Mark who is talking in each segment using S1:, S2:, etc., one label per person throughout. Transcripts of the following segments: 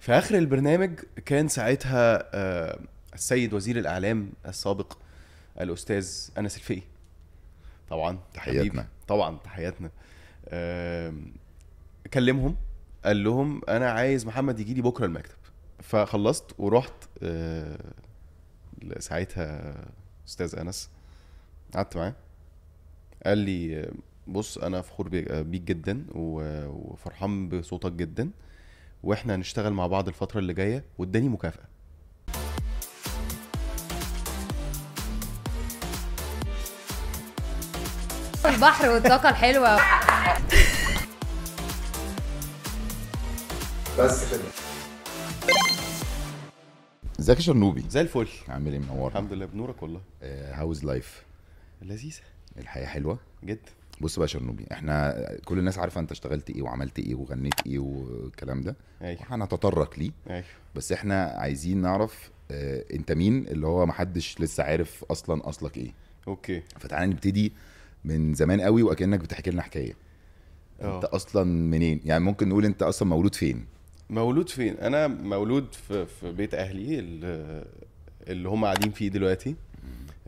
S1: في اخر البرنامج كان ساعتها آه، السيد وزير الاعلام السابق الاستاذ انس الفقي طبعا
S2: تحياتنا.
S1: حبيبي، طبعا تحياتنا آم، كلمهم قال لهم انا عايز محمد يجي لي بكره المكتب فخلصت ورحت آه، ساعتها استاذ انس قعدت معاه قال لي آه، بص انا فخور بيك بيك جدا و- وفرحان بصوتك جدا واحنا هنشتغل مع بعض الفتره اللي جايه واداني مكافاه
S3: البحر والطاقه الحلوه
S2: زكي شرنوبي
S1: زي الفل
S2: عامل ايه منور آه،
S1: الحمد لله بنورك والله
S2: هاوز لايف
S1: لذيذه
S2: الحياه حلوه
S1: جدا
S2: بص بقى يا شرنوبي احنا كل الناس عارفه انت اشتغلت ايه وعملت ايه وغنيت ايه والكلام ده
S1: ايوه
S2: هنتطرق ليه
S1: ايوه
S2: بس احنا عايزين نعرف اه انت مين اللي هو محدش لسه عارف اصلا اصلك ايه
S1: اوكي
S2: فتعالى نبتدي من زمان قوي واكنك بتحكي لنا حكايه انت
S1: اه
S2: اصلا منين يعني ممكن نقول انت اصلا مولود فين
S1: مولود فين انا مولود في, في بيت اهلي اللي, اللي هم قاعدين فيه دلوقتي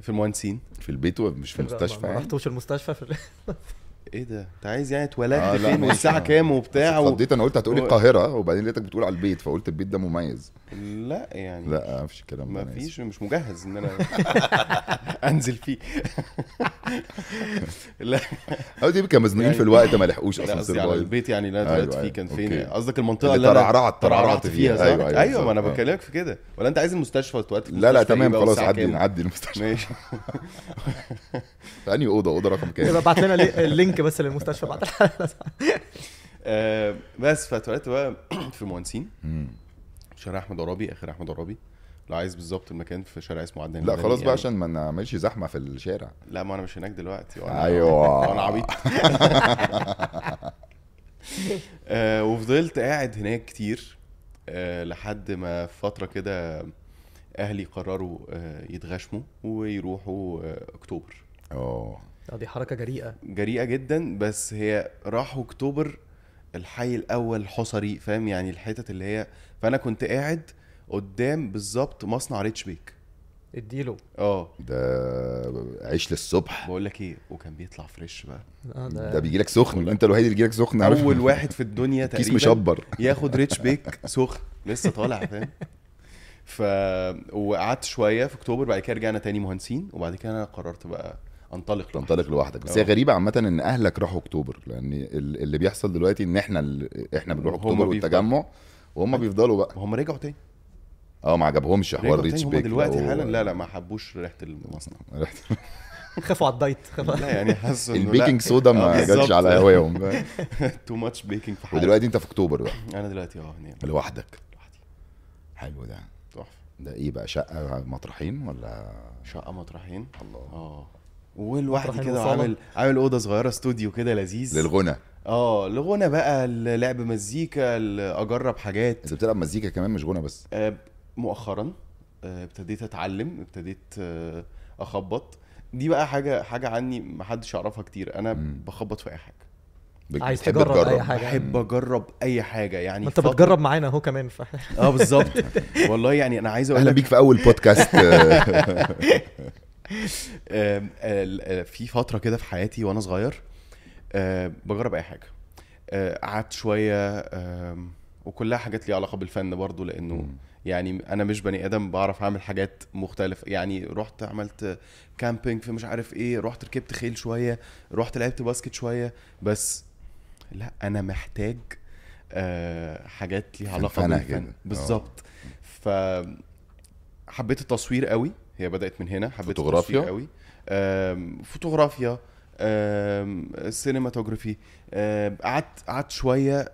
S1: في المهندسين
S2: في البيت مش في المستشفى
S4: ما
S2: يعني
S4: رحتوش المستشفى في ال-
S1: ايه ده انت عايز يعني
S2: آه،
S1: اتولدت
S2: لا،
S1: فين
S2: ماشي.
S1: والساعه كام وبتاع
S2: بتاع
S1: و...
S2: اتخضيت انا قلت هتقولي
S1: هو-
S2: القاهره وبعدين لقيتك بتقول على البيت فقلت البيت ده مميز
S1: لا يعني
S2: لا مفيش الكلام ده
S1: ما
S2: أنا آسف.
S1: فيش مش مجهز ان انا انزل فيه لا
S2: او دي كانوا مزنوقين في
S1: يعني-
S2: الوقت ما لحقوش
S1: لا
S2: اصلا
S1: قصدي على
S2: سرفايف
S1: البيت يعني اللي انا
S2: أيوة،
S1: اتولدت فيه كان
S2: أيوة،
S1: فين
S2: أوكي.
S1: يعني؟ قصدك
S2: اللي
S1: المنطقه اللي انا
S2: ترعرعت- ترعرعت
S1: ترعرعت
S2: فيها،
S1: فيها صح؟
S2: أيوة، أيوة،
S1: ايوه, أيوة ما انا
S2: بالظبط، آه.
S1: بكلمك في كده ولا انت عايز المستشفى اتولدت في
S2: لا لا
S1: مستشفى إيه
S2: تمام
S1: بقى
S2: خلاص
S1: والساعة
S2: عدي
S1: كام؟
S2: نعدي المستشفى
S1: ماشي
S2: في انهي اوضه اوضه رقم
S4: يبقى
S2: كام
S4: ابعت لنا لي- اللينك بس للمستشفى بعد الحلقه
S1: آه، بس فاتولدت بقى في المهندسين
S2: مم.
S1: شارع احمد عرابي اخر احمد عرابي لو عايز بالظبط المكان في شارع اسمه عدنان
S2: لا
S1: المدني
S2: خلاص بقى
S1: يعني.
S2: عشان ما نعملش زحمه في الشارع
S1: لا ما انا مش هناك دلوقتي وأنا-
S2: ايوه
S1: انا عبيط آه، وفضلت قاعد هناك كتير آه، لحد ما في فتره كده اهلي قرروا آه، يتغشموا ويروحوا آه، اكتوبر
S2: اه
S4: آه، دي حركه جريئه
S1: جريئه جدا بس هي راحوا اكتوبر الحي الاول حصري فاهم يعني الحتت اللي هي فانا كنت قاعد قدام بالظبط مصنع ريتش بيك
S4: اديله
S1: اه
S2: ده عيش للصبح
S1: بقول لك ايه وكان بيطلع فريش بقى
S4: آه،
S2: ده بيجي لك سخن انت الوحيد اللي بيجي لك سخن عارف
S1: اول واحد في الدنيا
S2: كيس
S1: تقريبا
S2: مشبر
S1: ياخد ريتش بيك سخن لسه طالع فاهم ف وقعدت شويه في اكتوبر بعد كده رجعنا تاني مهندسين وبعد كده انا قررت بقى انطلق لوحدي.
S2: تنطلق لوحدك بس هي
S1: آه.
S2: غريبه عامه ان اهلك راحوا اكتوبر لان ال- اللي بيحصل دلوقتي ان احنا ال- احنا بنروح
S1: وهم
S2: اكتوبر
S1: بيفضلوا.
S2: والتجمع وهم بيفضلوا بقى
S1: هم رجعوا تاني
S2: اه ما عجبهمش حوار
S1: رجعوا
S2: ريتش
S1: تاني هم
S2: بيك
S1: دلوقتي
S2: لو-
S1: حالا لا لا ما حبوش ريحه المصنع
S2: ريحة-
S4: خافوا على الدايت خافوا
S1: لا يعني حاسس انه لا
S2: البيكنج سودا ما
S1: آه، بالظبط.
S2: جاتش على هواهم
S1: تو ماتش بيكنج في حاجه
S2: ودلوقتي انت في اكتوبر بقى
S1: انا دلوقتي اه هنا
S2: لوحدك
S1: لوحدي
S2: حلو ده
S1: تحفه
S2: ده ايه بقى شقه مطرحين ولا
S1: شقه مطرحين
S2: الله
S1: اه والواحد
S4: مطرحين
S1: كده
S4: وصالة.
S1: عامل عامل اوضه صغيره استوديو كده لذيذ
S2: للغنى
S1: اه الغنى بقى لعب مزيكا ال- اجرب حاجات
S2: انت بتلعب مزيكا كمان مش غنى بس
S1: آه، مؤخرا آه، ابتديت اتعلم ابتديت آه، اخبط دي بقى حاجه حاجه عني محدش يعرفها كتير انا
S2: مم.
S1: بخبط في اي حاجه
S2: بت-
S4: عايز
S2: بتحب
S4: تجرب أي حاجة.
S1: بحب اجرب اي حاجه يعني
S4: ما انت
S1: فترة-
S4: بتجرب معانا اهو كمان ف...
S1: اه بالظبط والله يعني انا عايز اقول
S2: اهلا
S1: لك
S2: بيك في اول بودكاست
S1: آم، ال- آه، في فتره كده في حياتي وانا صغير آم، بجرب اي حاجه آه، قعدت شويه آم، وكلها حاجات ليها علاقه بالفن برضو لانه يعني انا مش بني ادم بعرف اعمل حاجات مختلفه يعني رحت عملت كامبينج في مش عارف ايه رحت ركبت خيل شويه رحت لعبت باسكت شويه بس لا انا محتاج آه، حاجات ليها علاقه
S2: فنفنة
S1: بالفن
S2: كده. اه.
S1: بالظبط ف حبيت التصوير قوي هي بدات من هنا حبيت
S2: فوتوغرافيا؟
S1: التصوير قوي آم، فوتوغرافيا آم، سينماتوجرافي آم، قعدت قعدت شويه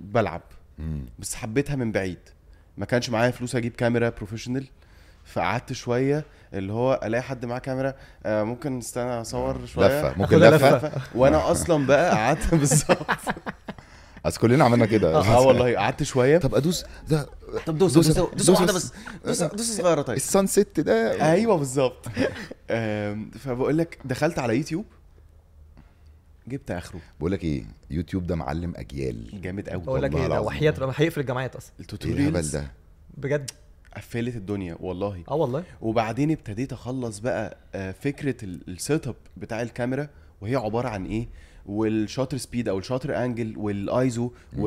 S1: بلعب
S2: مم.
S1: بس حبيتها من بعيد ما كانش معايا فلوس اجيب كاميرا بروفيشنال فقعدت شويه اللي هو الاقي حد معاه كاميرا آه، ممكن استنى اصور شويه
S2: لفه ممكن
S4: خدها
S2: لفه
S4: لفة.
S1: وانا اصلا بقى قعدت بالظبط
S2: بس كلنا عملنا
S4: آه،
S2: كده
S1: اه والله قعدت شويه
S2: طب ادوس ده
S1: طب
S2: دوسة- دوسة واحدة بس. دوسة-
S1: صغيره طيب
S2: السان سيت ده
S1: أيوة. ايوه بالظبط فبقول لك دخلت على يوتيوب جبت اخره
S2: بقول لك ايه يوتيوب ده معلم اجيال
S1: جامد قوي
S4: بقول لك
S2: والله
S4: ايه ده
S2: العظيم.
S4: وحياة ربنا هيقفل الجامعات اصلا
S2: ايه الهبل
S1: التوتوريالز
S2: ده
S4: بجد
S1: قفلت الدنيا والله
S4: اه والله
S1: وبعدين ابتديت اخلص بقى آه، فكره ال- السيت اب بتاع الكاميرا وهي عباره عن ايه والشاتر سبيد او الشاتر انجل والايزو وال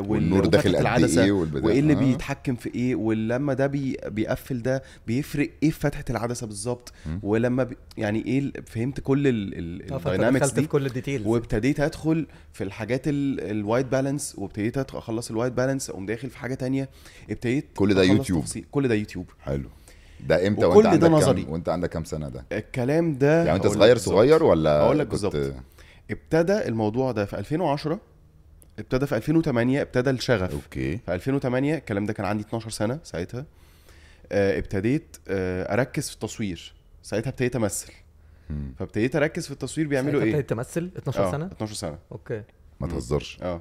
S1: وال-
S2: والنور
S1: وفتحة
S2: داخل قد
S1: العدسه
S2: ايه والبتاع-
S1: وايه اللي
S2: آه.
S1: بيتحكم في ايه ولما ده بي بيقفل ده بيفرق ايه في فتحه العدسه بالظبط
S2: مم.
S1: ولما بي يعني ايه ال- فهمت كل ال- ال-
S4: آه، فأنت
S1: الداينامكس
S4: دخلت
S1: دي
S4: في كل الديتيلز
S1: وابتديت ادخل في الحاجات الوايت بالانس وابتديت أدخل- اخلص الوايت بالانس اقوم داخل في حاجه تانية ابتديت
S2: كل ده
S1: أخلص
S2: يوتيوب.
S1: تفاصيل- كل ده يوتيوب
S2: حلو ده امتى
S1: وكل
S2: وانت
S1: ده
S2: عندك
S1: نظري.
S2: كام وانت عندك كام سنه ده
S1: الكلام ده
S2: يعني انت
S1: هقول لك
S2: صغير
S1: بالظبط.
S2: صغير ولا
S1: هقول لك
S2: كنت-
S1: بالظبط. ابتدى الموضوع ده في 2010 ابتدى في 2008 ابتدى الشغف
S2: اوكي
S1: في 2008 الكلام ده كان عندي 12 سنه ساعتها آه، ابتديت آه، اركز في التصوير ساعتها ابتديت امثل
S2: مم.
S1: فابتديت اركز في التصوير بيعملوا
S4: ساعتها
S1: ايه
S4: ابتديت تمثل 12
S1: آه،
S4: سنه
S1: 12 سنه
S4: اوكي
S2: ما
S1: مم.
S2: تهزرش
S1: اه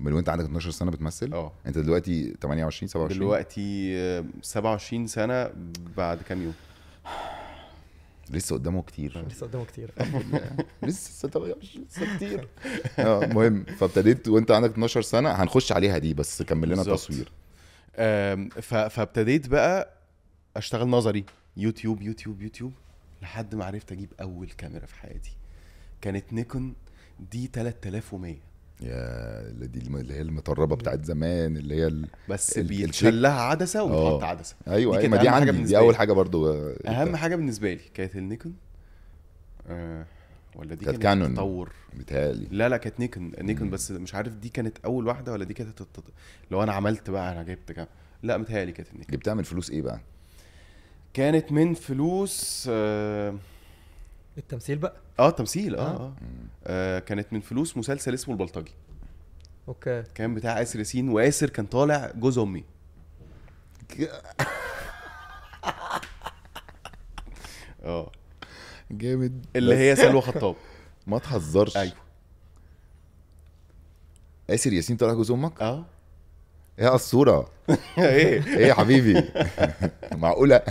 S2: من وانت عندك 12 سنه بتمثل
S1: اه
S2: انت دلوقتي 28 27
S1: دلوقتي آه، 27 سنه بعد كام يوم
S2: لسه قدامه
S1: آه.
S2: كتير
S4: لسه قدامه كتير
S2: لسه طب مش لسه كتير اه المهم فابتديت وانت عندك 12 سنه هنخش عليها دي بس كمل لنا
S1: بالظبط.
S2: التصوير
S1: آم، ف- فابتديت بقى اشتغل نظري يوتيوب يوتيوب يوتيوب لحد ما عرفت اجيب اول كاميرا في حياتي كانت نيكون دي 3100
S2: يا اللي دي الم- اللي هي المطربه بتاعت زمان اللي هي ال...
S1: بس
S2: ال-
S1: بيتشال لها عدسه وبيتحط
S2: آه.
S1: عدسه
S2: ايوه
S1: دي
S2: دي
S1: كانت
S2: ما دي
S1: أهم حاجة
S2: عندي
S1: بالنسبة
S2: دي اول
S1: لي.
S2: حاجه برضو آه،
S1: اهم حاجه بالنسبه لي كانت النيكون آه ولا دي
S2: كانت
S1: كانت,
S2: كانون.
S1: تطور
S2: بيتهيألي
S1: لا لا كانت نيكون نيكون
S2: مم.
S1: بس مش عارف دي كانت اول واحده ولا دي كانت التط... لو انا عملت بقى انا جبت كام لا متهيألي كانت النيكون
S2: جبتها من فلوس ايه بقى؟
S1: كانت من فلوس اه,
S4: التمثيل بقى
S1: آه تمثيل اه,
S4: آه.
S1: آه. آه كانت من فلوس مسلسل اسمه البلطجي
S4: اوكي
S1: كان بتاع اسر ياسين واسر كان طالع جوز امي اه
S2: جامد
S1: اللي هي سلوى خطاب
S2: ما تهزرش
S1: ايوه
S2: آسر ياسين طلع جوز امك؟
S1: اه
S2: ايه قصوره؟
S1: ايه
S2: ايه يا حبيبي؟ معقوله؟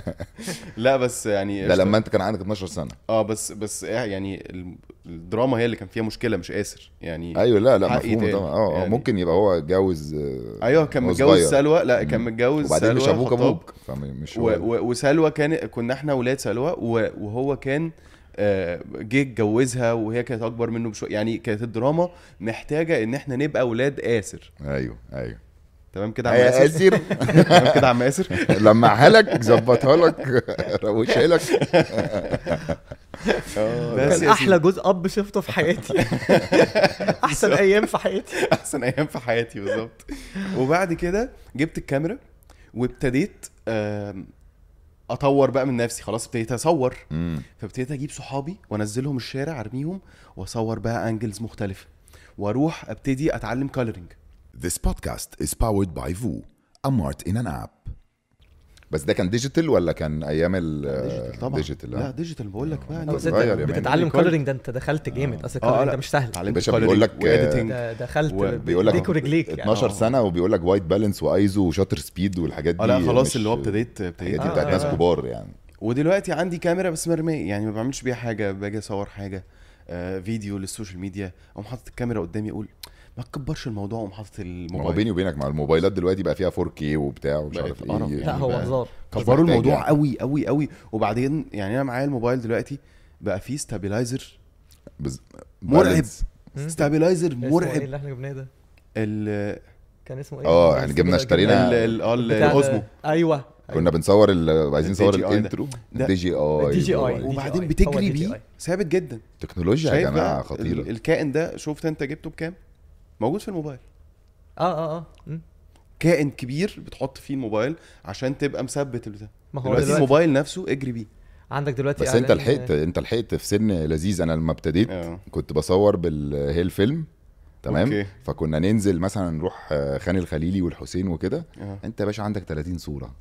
S1: لا بس يعني
S2: ده لما انت كان عندك 12 سنه
S1: اه بس بس إيه يعني ال- الدراما هي اللي كان فيها مشكله مش اسر يعني
S2: ايوه لا لا
S1: حقي
S2: مفهوم
S1: تاني.
S2: طبعا اه يعني
S1: يعني-
S2: ممكن يبقى هو اتجوز آه،
S1: ايوه كان
S2: هو
S1: متجوز
S2: صغير.
S1: سلوى لا كان
S2: مم.
S1: متجوز
S2: وبعدين مش
S1: سلوى
S2: ابوك
S1: خطاب.
S2: ابوك فمش
S1: و-
S2: هو
S1: و- وسلوى كان كنا احنا ولاد سلوى و- وهو كان آه، جه اتجوزها وهي كانت اكبر منه بشويه يعني كانت الدراما محتاجه ان احنا نبقى ولاد اسر
S2: ايوه ايوه
S1: تمام كده عم
S2: إيه يا
S1: اسر
S2: اسر
S1: تمام كده عم اسر
S2: لمعها لك ظبطها لك روشها لك
S1: بس
S4: كان
S1: يا سيدي
S4: احلى جزء اب شفته في حياتي احسن ايام في حياتي
S1: احسن ايام في حياتي بالظبط وبعد كده جبت الكاميرا وابتديت آم، اطور بقى من نفسي خلاص ابتديت اصور
S2: مم.
S1: فابتديت اجيب صحابي وانزلهم الشارع ارميهم واصور بقى انجلز مختلفه واروح ابتدي اتعلم كالرنج
S5: This podcast is powered by VU, a mart in an app.
S2: بس ده كان ديجيتال ولا كان ايام ال
S1: ديجيتال طبعا
S2: ديجيتال
S1: لا
S2: آه.
S1: ديجيتال بقول لك بقى أنا
S4: بس
S2: صغير
S4: انت
S2: يا مان.
S4: بتتعلم
S1: كل-
S4: كولرنج ده انت دخلت جامد اصل
S1: اه
S4: الكولرنج
S1: لا
S4: ده مش سهل
S1: اتعلمت
S2: باشا بيقول
S1: coloring
S2: لك، آه،
S1: و editing.
S4: ده دخلت
S1: و-
S2: بيقول لك
S4: بيديك ورجليك يعني
S2: 12 سنه وبيقول لك وايت بالانس وايزو وشاتر سبيد والحاجات دي
S1: اه لا خلاص
S2: مش-
S1: اللي هو ابتديت
S2: الحاجات
S1: ابتديت
S2: دي
S4: آه،
S2: بتاعت
S4: آه،
S2: ناس
S4: آه.
S2: كبار يعني
S1: ودلوقتي عندي كاميرا بس مرميه يعني ما بعملش بيها حاجه باجي اصور حاجه آه فيديو للسوشيال ميديا اقوم حاطط الكاميرا قدامي اقول ما تكبرش الموضوع اقوم حاطط
S2: ما هو
S1: الموبايل
S2: بيني وبينك مع الموبايلات دلوقتي بقى فيها 4K وبتاع ومش
S1: بقت
S2: عارف
S1: قرف
S2: ايه
S1: يعني.
S4: لا هو
S2: بقى-
S4: هزار
S1: كبروا
S2: محتاج
S1: الموضوع
S2: يعني.
S1: قوي قوي قوي وبعدين يعني انا معايا الموبايل دلوقتي بقى فيه ستابيلايزر
S2: بز-
S1: مرعب
S2: بالانس.
S4: مم.
S1: ستابيلايزر
S4: اسمه ايه
S1: مرعب آه،
S4: اللي احنا جبناه ده
S1: ال
S4: كان اسمه ايه
S2: اه يعني جبنا اشترينا
S1: ال- ال- اه، ال-
S4: بتاع ده.
S1: الاوزمو
S4: ايوه
S2: كنا بنصور ال- عايزين
S1: أيوة. ال
S2: نصور
S1: DJI ده.
S2: الانترو
S1: ده-
S2: دي جي اي
S4: ال DJI.
S2: بقى.
S1: وبعدين
S4: DJI.
S1: بتجري
S4: هو
S1: بيه
S4: DJI.
S1: ثابت جدا
S2: تكنولوجيا يا
S1: شايف بقى
S2: جماعه
S1: ال-
S2: خطيره
S1: الكائن ده شفت انت جبته بكام موجود في الموبايل
S4: اه اه اه مم.
S1: كائن كبير بتحط فيه الموبايل عشان تبقى مثبت البتاع
S4: ما هو
S1: دلوقتي
S4: دلوقتي
S1: الموبايل نفسه اجري بيه
S4: عندك دلوقتي يعني
S2: بس انت
S4: إعلان-
S1: يعني
S2: لحقت انت لحقت في سن لذيذ انا لما ابتديت
S1: اه.
S2: كنت بصور بالهيل فيلم تمام
S1: اوكي.
S2: فكنا ننزل مثلا نروح آه، خان الخليلي والحسين وكده
S1: اه.
S2: انت يا باشا عندك 30 صوره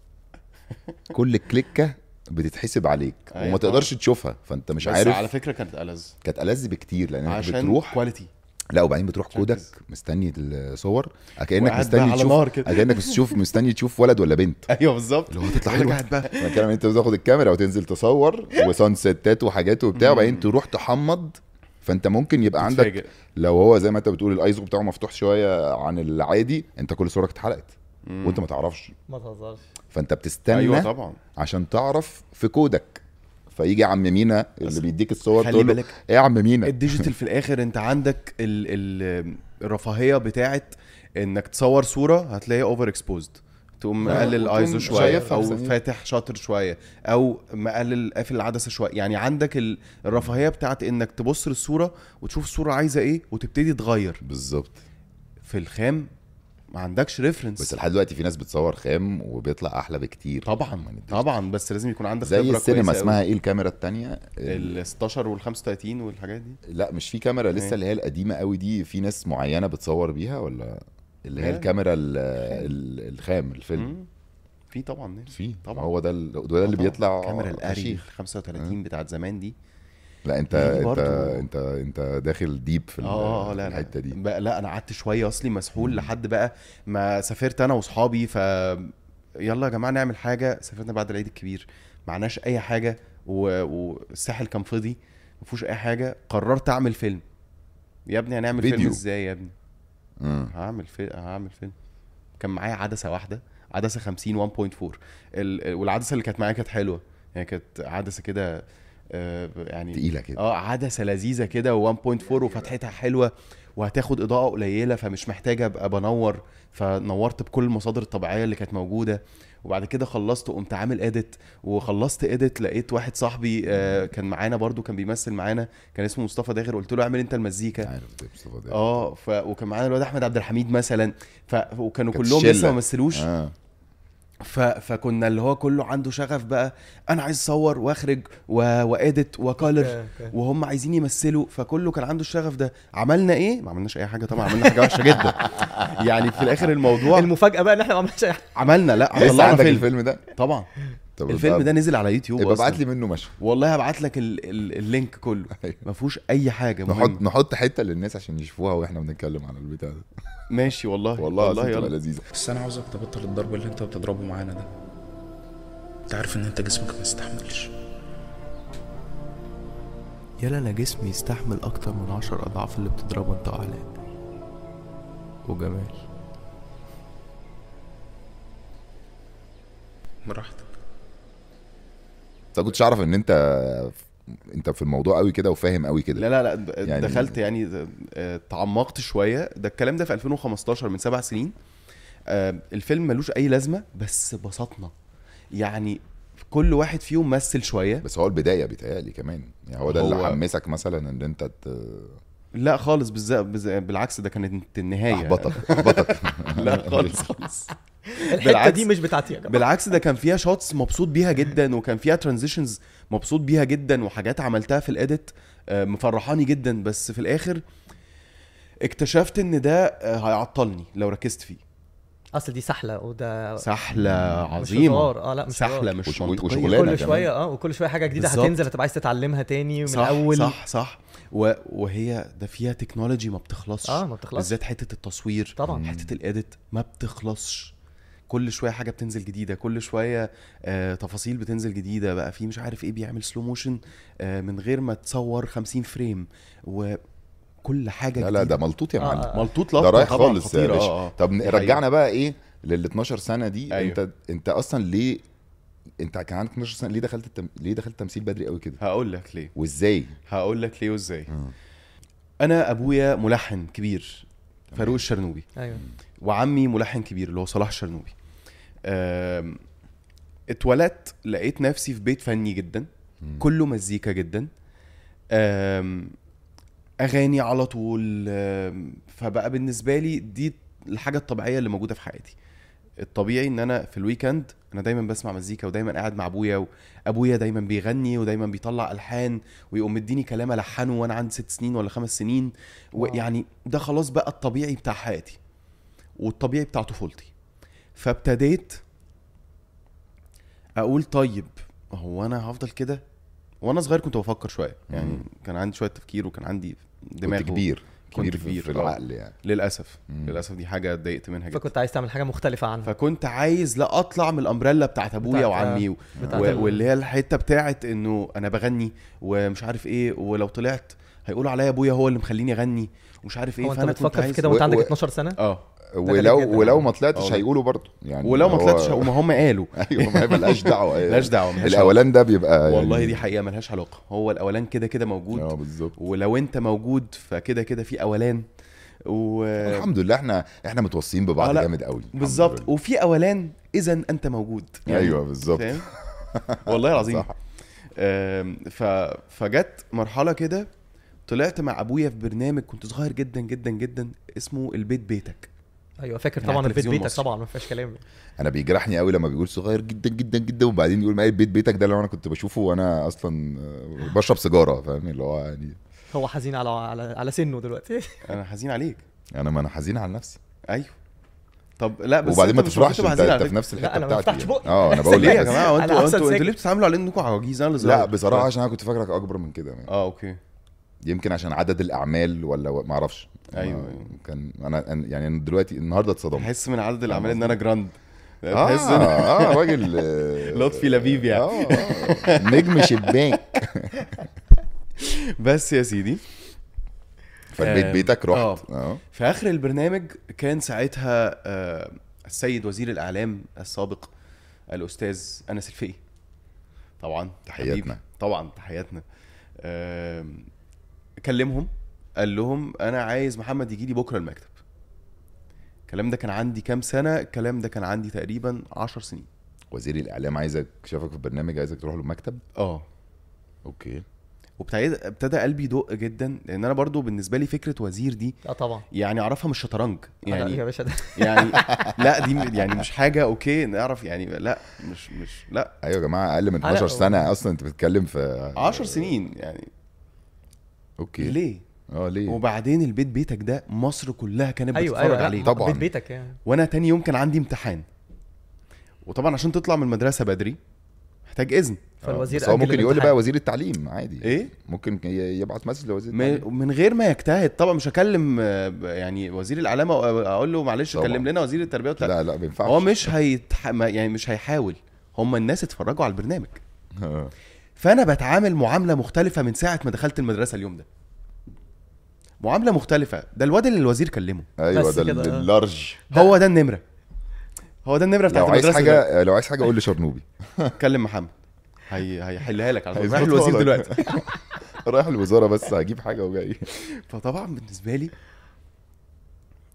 S2: كل كليكه بتتحسب عليك
S1: ايوه
S2: وما
S1: طبعا.
S2: تقدرش تشوفها فانت مش
S1: مش عارف يعني على
S2: عارف
S1: فكره كانت ألذ
S2: كانت ألذ بكتير لان انت
S1: عشان
S2: بتروح
S1: كواليتي
S2: لا وبعدين بتروح
S1: عشان
S2: كودك
S1: كده.
S2: مستني الصور كانك
S1: وقاعد بقى
S2: مستني
S1: على
S2: تشوف
S1: نار كده.
S2: كانك تشوف مستني تشوف ولد ولا بنت
S1: ايوه بالظبط
S2: اللي هو هتطلع
S1: يقول لك
S2: حلوة.
S1: قاعد بقى
S2: انا بتكلم ان انت بتاخد الكاميرا وتنزل تصور وسان ستات وحاجات وبتاع وبعدين تروح تحمض فانت ممكن يبقى عندك
S1: تتفاجئ.
S2: لو هو زي ما انت بتقول الايزو بتاعه مفتوح شويه عن العادي انت كل صورك اتحرقت
S1: مم.
S2: وانت ما تعرفش
S4: ما تهزرش
S2: فانت بتستنى
S1: ايوه طبعا
S2: عشان تعرف في كودك فيجي عم مينا
S1: بس
S2: اللي بيديك الصور
S1: خلي
S2: تقول له
S1: بالك.
S2: ايه يا عم مينا
S1: الديجيتال في الاخر انت عندك ال ال الرفاهيه بتاعت انك تصور صوره هتلاقيها اوفر اكسبوزد تقوم
S2: آه،
S1: مقلل
S2: وتقوم
S1: ايزو شويه
S2: شايفها
S1: او
S2: بثانية.
S1: فاتح شاطر شويه او مقلل قافل العدسه شويه يعني عندك ال- الرفاهيه بتاعت انك تبص للصوره وتشوف الصوره عايزه ايه وتبتدي تغير
S2: بالظبط
S1: في الخام ما عندكش
S2: بس
S1: ريفرنس
S2: لحد دلوقتي في ناس بتصور خام وبيطلع احلى بكتير يعني
S1: طبعا طبعا بس لازم يكون عندك
S2: زي
S1: خبرة
S2: السينما
S1: كويسة
S2: اسمها إيه؟
S1: أوي.
S2: ايه الكاميرا التانية
S1: ال 16 وال 35 والحاجات دي
S2: لا مش في كاميرا لسه
S1: ايه.
S2: اللي هي القديمه قوي دي في ناس معينه بتصور بيها ولا اللي هي
S1: لا.
S2: الكاميرا ال- ال- الخام الفيلم
S1: مم. في طبعا ناس.
S2: في
S1: طبعا.
S2: طبعا هو ده ال- ده اللي
S1: طبعاً.
S2: بيطلع
S1: كاميرا الاري
S2: فشيخ.
S1: 35 بتاعت زمان دي
S2: لا انت
S1: دي
S2: انت
S1: برضو.
S2: انت انت داخل ديب في ال-
S1: اه اه
S2: في
S1: لا لا
S2: الحته دي
S1: بقى لا انا قعدت شويه اصلي مسحول
S2: مم.
S1: لحد بقى ما سافرت انا واصحابي ف يلا يا جماعه نعمل حاجه سافرنا بعد العيد الكبير معناش اي حاجه و... والساحل كان فاضي ما فيهوش اي حاجه قررت اعمل فيلم يا ابني هنعمل فيلم
S2: فيديو.
S1: ازاي يا ابني
S2: مم.
S1: هعمل فيلم هعمل فيلم كان معايا عدسه واحده عدسه 50 1.4 ال... والعدسه اللي كانت معايا كانت حلوه يعني كانت عدسه كده آه، يعني
S2: تقيله كده
S1: اه عدسه لذيذه كده و1.4 وفتحتها حلوه وهتاخد اضاءه قليله فمش محتاجه ابقى بنور فنورت بكل المصادر الطبيعيه اللي كانت موجوده وبعد كده خلصت وقمت عامل اديت وخلصت اديت لقيت واحد صاحبي آه، كان معانا برضو كان بيمثل معانا كان اسمه مصطفى داغر قلت له اعمل انت المزيكا
S2: عارف إيه ده مصطفى ده
S1: اه ف... وكان معانا الواد احمد عبد الحميد مثلا ف... وكانوا
S2: كانت
S1: كلهم
S2: الشلة.
S1: لسه ما مثلوش
S2: آه.
S1: ف... فكنا اللي هو كله عنده شغف بقى انا عايز اصور واخرج و... وادت وكالر
S4: اوكي.
S1: وهم عايزين يمثلوا فكله كان عنده الشغف ده عملنا ايه ما عملناش اي حاجه طبعا عملنا حاجه وحشه جدا يعني في الاخر الموضوع
S4: المفاجاه بقى ان احنا ما عملناش اي حاجه
S1: عملنا لا
S2: لسه
S1: طلعنا
S2: عندك
S1: فيلم
S2: الفيلم ده
S1: طبعا
S2: طب
S1: الفيلم
S2: ابقى-
S1: ده نزل على يوتيوب
S2: يبقى
S1: أصلاً.
S2: ابعت لي منه مشهد
S1: والله هبعت لك ال... ال... اللينك كله
S2: أيوة.
S1: ما فيهوش اي حاجه
S2: نحط
S1: مهمة.
S2: نحط حته للناس عشان يشوفوها واحنا بنتكلم عن البتاع ده
S1: ماشي والله
S2: والله
S1: والله
S2: والله تبقى
S1: يلا
S2: لذيذه
S6: بس انا عاوزك تبطل الضرب اللي انت بتضربه معانا ده انت عارف ان انت جسمك ما يستحملش
S7: يلا انا جسمي يستحمل اكتر من عشر اضعاف اللي بتضربه انت وعلاء وجمال
S6: براحتك
S2: بس انا كنتش اعرف ان انت انت في الموضوع قوي كده وفاهم قوي كده
S1: لا لا لا د-
S2: يعني-
S1: دخلت يعني د- آه، تعمقت شويه ده الكلام ده في 2015 من سبع سنين آه، الفيلم ملوش اي لازمه بس بسطنا يعني كل واحد فيهم مثل شويه
S2: بس هو البدايه بيتهيألي كمان يعني هو ده
S1: هو- إيه
S2: اللي حمسك مثلا ان انت ت-
S1: لا خالص بالز- بالز- بالعكس ده كانت النهايه
S2: احبطك احبطك
S1: يعني؟ لا خالص خالص
S4: الحته
S1: بالعكس.
S4: دي مش بتاعتي يا جماعه
S1: بالعكس ده كان فيها شوتس مبسوط بيها جدا وكان فيها ترانزيشنز مبسوط بيها جدا وحاجات عملتها في الاديت آه، مفرحاني جدا بس في الاخر اكتشفت ان ده آه، هيعطلني لو ركزت فيه
S4: اصل دي سحله وده
S1: سحله
S4: مش
S1: عظيمه
S4: هزار اه لا مش
S1: سحله
S4: سحله
S1: مش
S2: وش-
S1: منطقيه
S2: وشغلانة.
S4: كل
S2: كمان.
S4: شويه اه وكل شويه حاجه جديده
S1: بالظبط.
S4: هتنزل هتبقى عايز تتعلمها تاني من
S1: صح
S4: اول
S1: صح صح و... وهي ده فيها تكنولوجي ما بتخلصش
S4: اه ما بتخلصش
S1: بالذات حته التصوير
S4: طبعا.
S1: حته الاديت ما بتخلصش كل شويه حاجه بتنزل جديده كل شويه آه تفاصيل بتنزل جديده بقى في مش عارف ايه بيعمل سلو موشن آه من غير ما تصور 50 فريم وكل حاجه
S2: لا لا
S1: جديدة.
S2: ده ملطوط يا
S4: آه،
S2: معلم
S4: آه.
S1: ملطوط
S2: ده
S1: لفة
S2: رايح
S1: طبعاً
S2: خالص يا
S1: خطيرة.
S2: باشا.
S1: آه، آه.
S2: طب
S1: دي
S2: رجعنا بقى ايه لل 12 سنه دي
S1: أيوة.
S2: انت انت اصلا ليه انت كان عندك 12 سنه ليه دخلت التم... ليه دخلت تمثيل بدري قوي كده
S1: حقيقية. هقول لك ليه
S2: وازاي
S1: هقول لك ليه وازاي
S2: آه.
S1: انا ابويا ملحن كبير فاروق الشرنوبي
S4: ايوه
S1: وعمي ملحن كبير اللي هو صلاح الشرنوبي آم، اتولدت لقيت نفسي في بيت فني جدا كله مزيكا جدا آم، اغاني على طول آم، فبقى بالنسبه لي دي الحاجه الطبيعيه اللي موجوده في حياتي الطبيعي ان انا في الويكند انا دايما بسمع مزيكا ودايما قاعد مع ابويا وابويا دايما بيغني ودايما بيطلع الحان ويقوم مديني كلام الحنه وانا عندي ست سنين ولا خمس سنين ويعني ده خلاص بقى الطبيعي بتاع حياتي والطبيعي بتاع طفولتي فابتديت اقول طيب هو انا هفضل كده وانا صغير كنت بفكر شويه يعني
S2: مم.
S1: كان عندي شويه تفكير وكان عندي دماغ
S2: كنت كبير كبير في-
S1: كبير،
S2: في
S1: آه.
S2: العقل يعني
S1: للاسف
S2: مم.
S1: للاسف دي حاجه اتضايقت منها جدا
S4: فكنت عايز تعمل حاجه مختلفه عنها
S1: فكنت عايز لا اطلع من الامبريلا بتاعت ابويا
S4: بتاعت- آه،
S1: وعمي و...
S4: بتاعت
S1: و...
S4: ال-
S1: واللي هي الحته بتاعت انه انا بغني ومش عارف ايه إيه، ولو طلعت هيقولوا عليا ابويا هو اللي مخليني اغني ومش عارف ايه
S4: هو انت
S1: فانا كنت
S4: بتفكر في
S1: عايز-
S4: كده وانت
S2: و-
S4: عندك
S2: و-
S4: 12 سنه
S1: اه
S4: غريب جداً.
S2: ولو ولو ما طلعتش
S1: آه.
S2: هيقولوا برضه يعني
S1: ولو ما
S2: هو-
S1: طلعتش هقوم هم قالوا
S2: ايوه ما هي ملهاش دعوه
S1: ملهاش دعوه ملهاش علاقة.
S2: الاولان ده بيبقى
S1: والله
S2: يعني-
S1: دي حقيقه ملهاش علاقه هو الاولان كده كده موجود
S2: اه بالظبط
S1: ولو انت موجود فكده كده في اولان و
S2: الحمد لله احنا احنا متوصيين
S1: آه،
S2: ببعض
S1: لا.
S2: جامد قوي
S1: بالظبط وفي اولان اذا انت موجود يعني
S2: ايوه بالظبط
S1: فاهم والله العظيم
S2: صح.
S1: آم، ف... فجت مرحله كده طلعت مع ابويا في برنامج كنت صغير جدا جدا جدا اسمه البيت بيتك
S4: ايوه فاكر
S1: من
S4: طبعا
S1: يعني على
S4: البيت
S1: التلفزيون
S4: بيتك
S1: مصر.
S4: طبعا ما فيهاش كلام
S2: انا بيجرحني قوي لما بيقول صغير جدا جدا جدا وبعدين يقول ما البيت بيتك ده اللي انا كنت بشوفه وانا اصلا آه، بشرب سيجاره فاهم اللي هو يعني
S4: هو حزين على على على سنه دلوقتي
S1: انا حزين عليك
S2: انا ما انا حزين على نفسي
S1: ايوه طب لا بس
S2: وبعدين ما
S1: أنت مش المفروض
S2: تفرحش
S1: تبقى
S2: انت,
S1: حزين
S2: انت
S1: على
S2: في
S1: فكرة.
S2: نفس الحته
S4: لا، أنا ما
S2: بتاعتي
S4: بفتحش
S2: يعني.
S4: بقي.
S2: اه انا
S4: بس
S2: بقول
S1: ليه
S2: لك
S1: يا
S2: بس.
S1: جماعه هو
S4: على
S1: انتوا
S4: أحسن
S1: انتوا انتوا
S4: سجن.
S1: ليه بتتعاملوا على انكم عواجيز انا اللي
S2: لا
S1: صغير.
S2: بصراحه عشان انا كنت فاكرك اكبر من كده يعني.
S1: اه اوكي
S2: يمكن عشان عدد الاعمال ولا ما اعرفش
S1: أيوة،
S2: أنا-
S1: أيوة.
S2: كان انا أنا- يعني أنا دلوقتي النهارده اتصدمت
S1: بحس من عدد الاعمال
S2: آه.
S1: ان انا جراند
S2: اه
S1: بحس ان
S2: اه راجل آه،
S1: لطفي لبيب يعني
S2: آه، آه. نجم شباك
S1: بس يا سيدي
S2: فالبيت
S1: آم،
S2: بيتك
S1: آه.
S2: رحت اه
S1: في اخر البرنامج كان ساعتها آه، السيد وزير الاعلام السابق الاستاذ انس الفقي طبعا
S2: تحياتنا.
S1: حبيبي. طبعا تحياتنا آم، كلمهم قال لهم انا عايز محمد يجي لي بكره المكتب الكلام ده كان عندي كام سنه الكلام ده كان عندي تقريبا 10 سنين
S2: وزير الاعلام عايزك شافك في برنامج عايزك تروح له المكتب
S1: اه
S2: اوكي
S1: وابتدى ابتدى قلبي يدق جدا لان انا برضو بالنسبه لي فكره وزير دي
S4: اه طبعا
S1: يعني اعرفها من الشطرنج
S4: يعني
S1: يعني
S4: يا باشا ده
S1: يعني لا دي يعني مش حاجه اوكي نعرف يعني لا مش مش لا
S2: ايوه يا جماعه اقل من
S4: على-
S2: 12 سنه اصلا انت بتتكلم في
S1: 10 سنين يعني
S2: اوكي
S1: ليه؟
S2: اه ليه
S1: وبعدين البيت بيتك ده مصر كلها كانت
S4: ايوه
S1: بتتفرج
S4: ايوه لا،
S1: عليه
S4: ما-
S2: طبعاً. آه،
S4: بيت بيتك يعني
S1: وانا تاني يوم كان عندي امتحان وطبعا عشان تطلع من المدرسه بدري محتاج اذن
S4: فالوزير
S2: بس هو
S4: أجل
S2: ممكن يقول لي
S4: الامتحان.
S2: بقى وزير التعليم عادي
S1: ايه
S2: ممكن ي- يبعت مسج لوزير التعليم
S1: م- من غير ما يجتهد طبعا مش هكلم آه، يعني وزير الاعلام أو- اقول له معلش
S2: طبعاً.
S1: كلم لنا وزير التربيه والتعليم
S2: لا لا ما ينفعش
S1: هو مش هيتح... ما- يعني مش هيحاول هم الناس اتفرجوا على البرنامج
S2: آه.
S1: فانا بتعامل معامله مختلفه من ساعه ما دخلت المدرسه اليوم ده معامله مختلفه ده الواد اللي الوزير كلمه
S2: ايوه
S4: بس
S2: ده
S4: كده،
S2: ال-
S4: آه.
S2: اللارج
S1: هو ده النمره هو ده النمره
S2: لو
S1: بتاعت
S2: عايز
S1: المدرسه ده.
S2: حاجه لو عايز حاجه قول لي شرنوبي
S1: كلم محمد هي هيحلها لك على طول رايح
S2: هيظبطها
S1: الوزير
S2: لك.
S1: دلوقتي
S2: رايح الوزاره بس هجيب حاجه وجاي
S1: فطبعا بالنسبه لي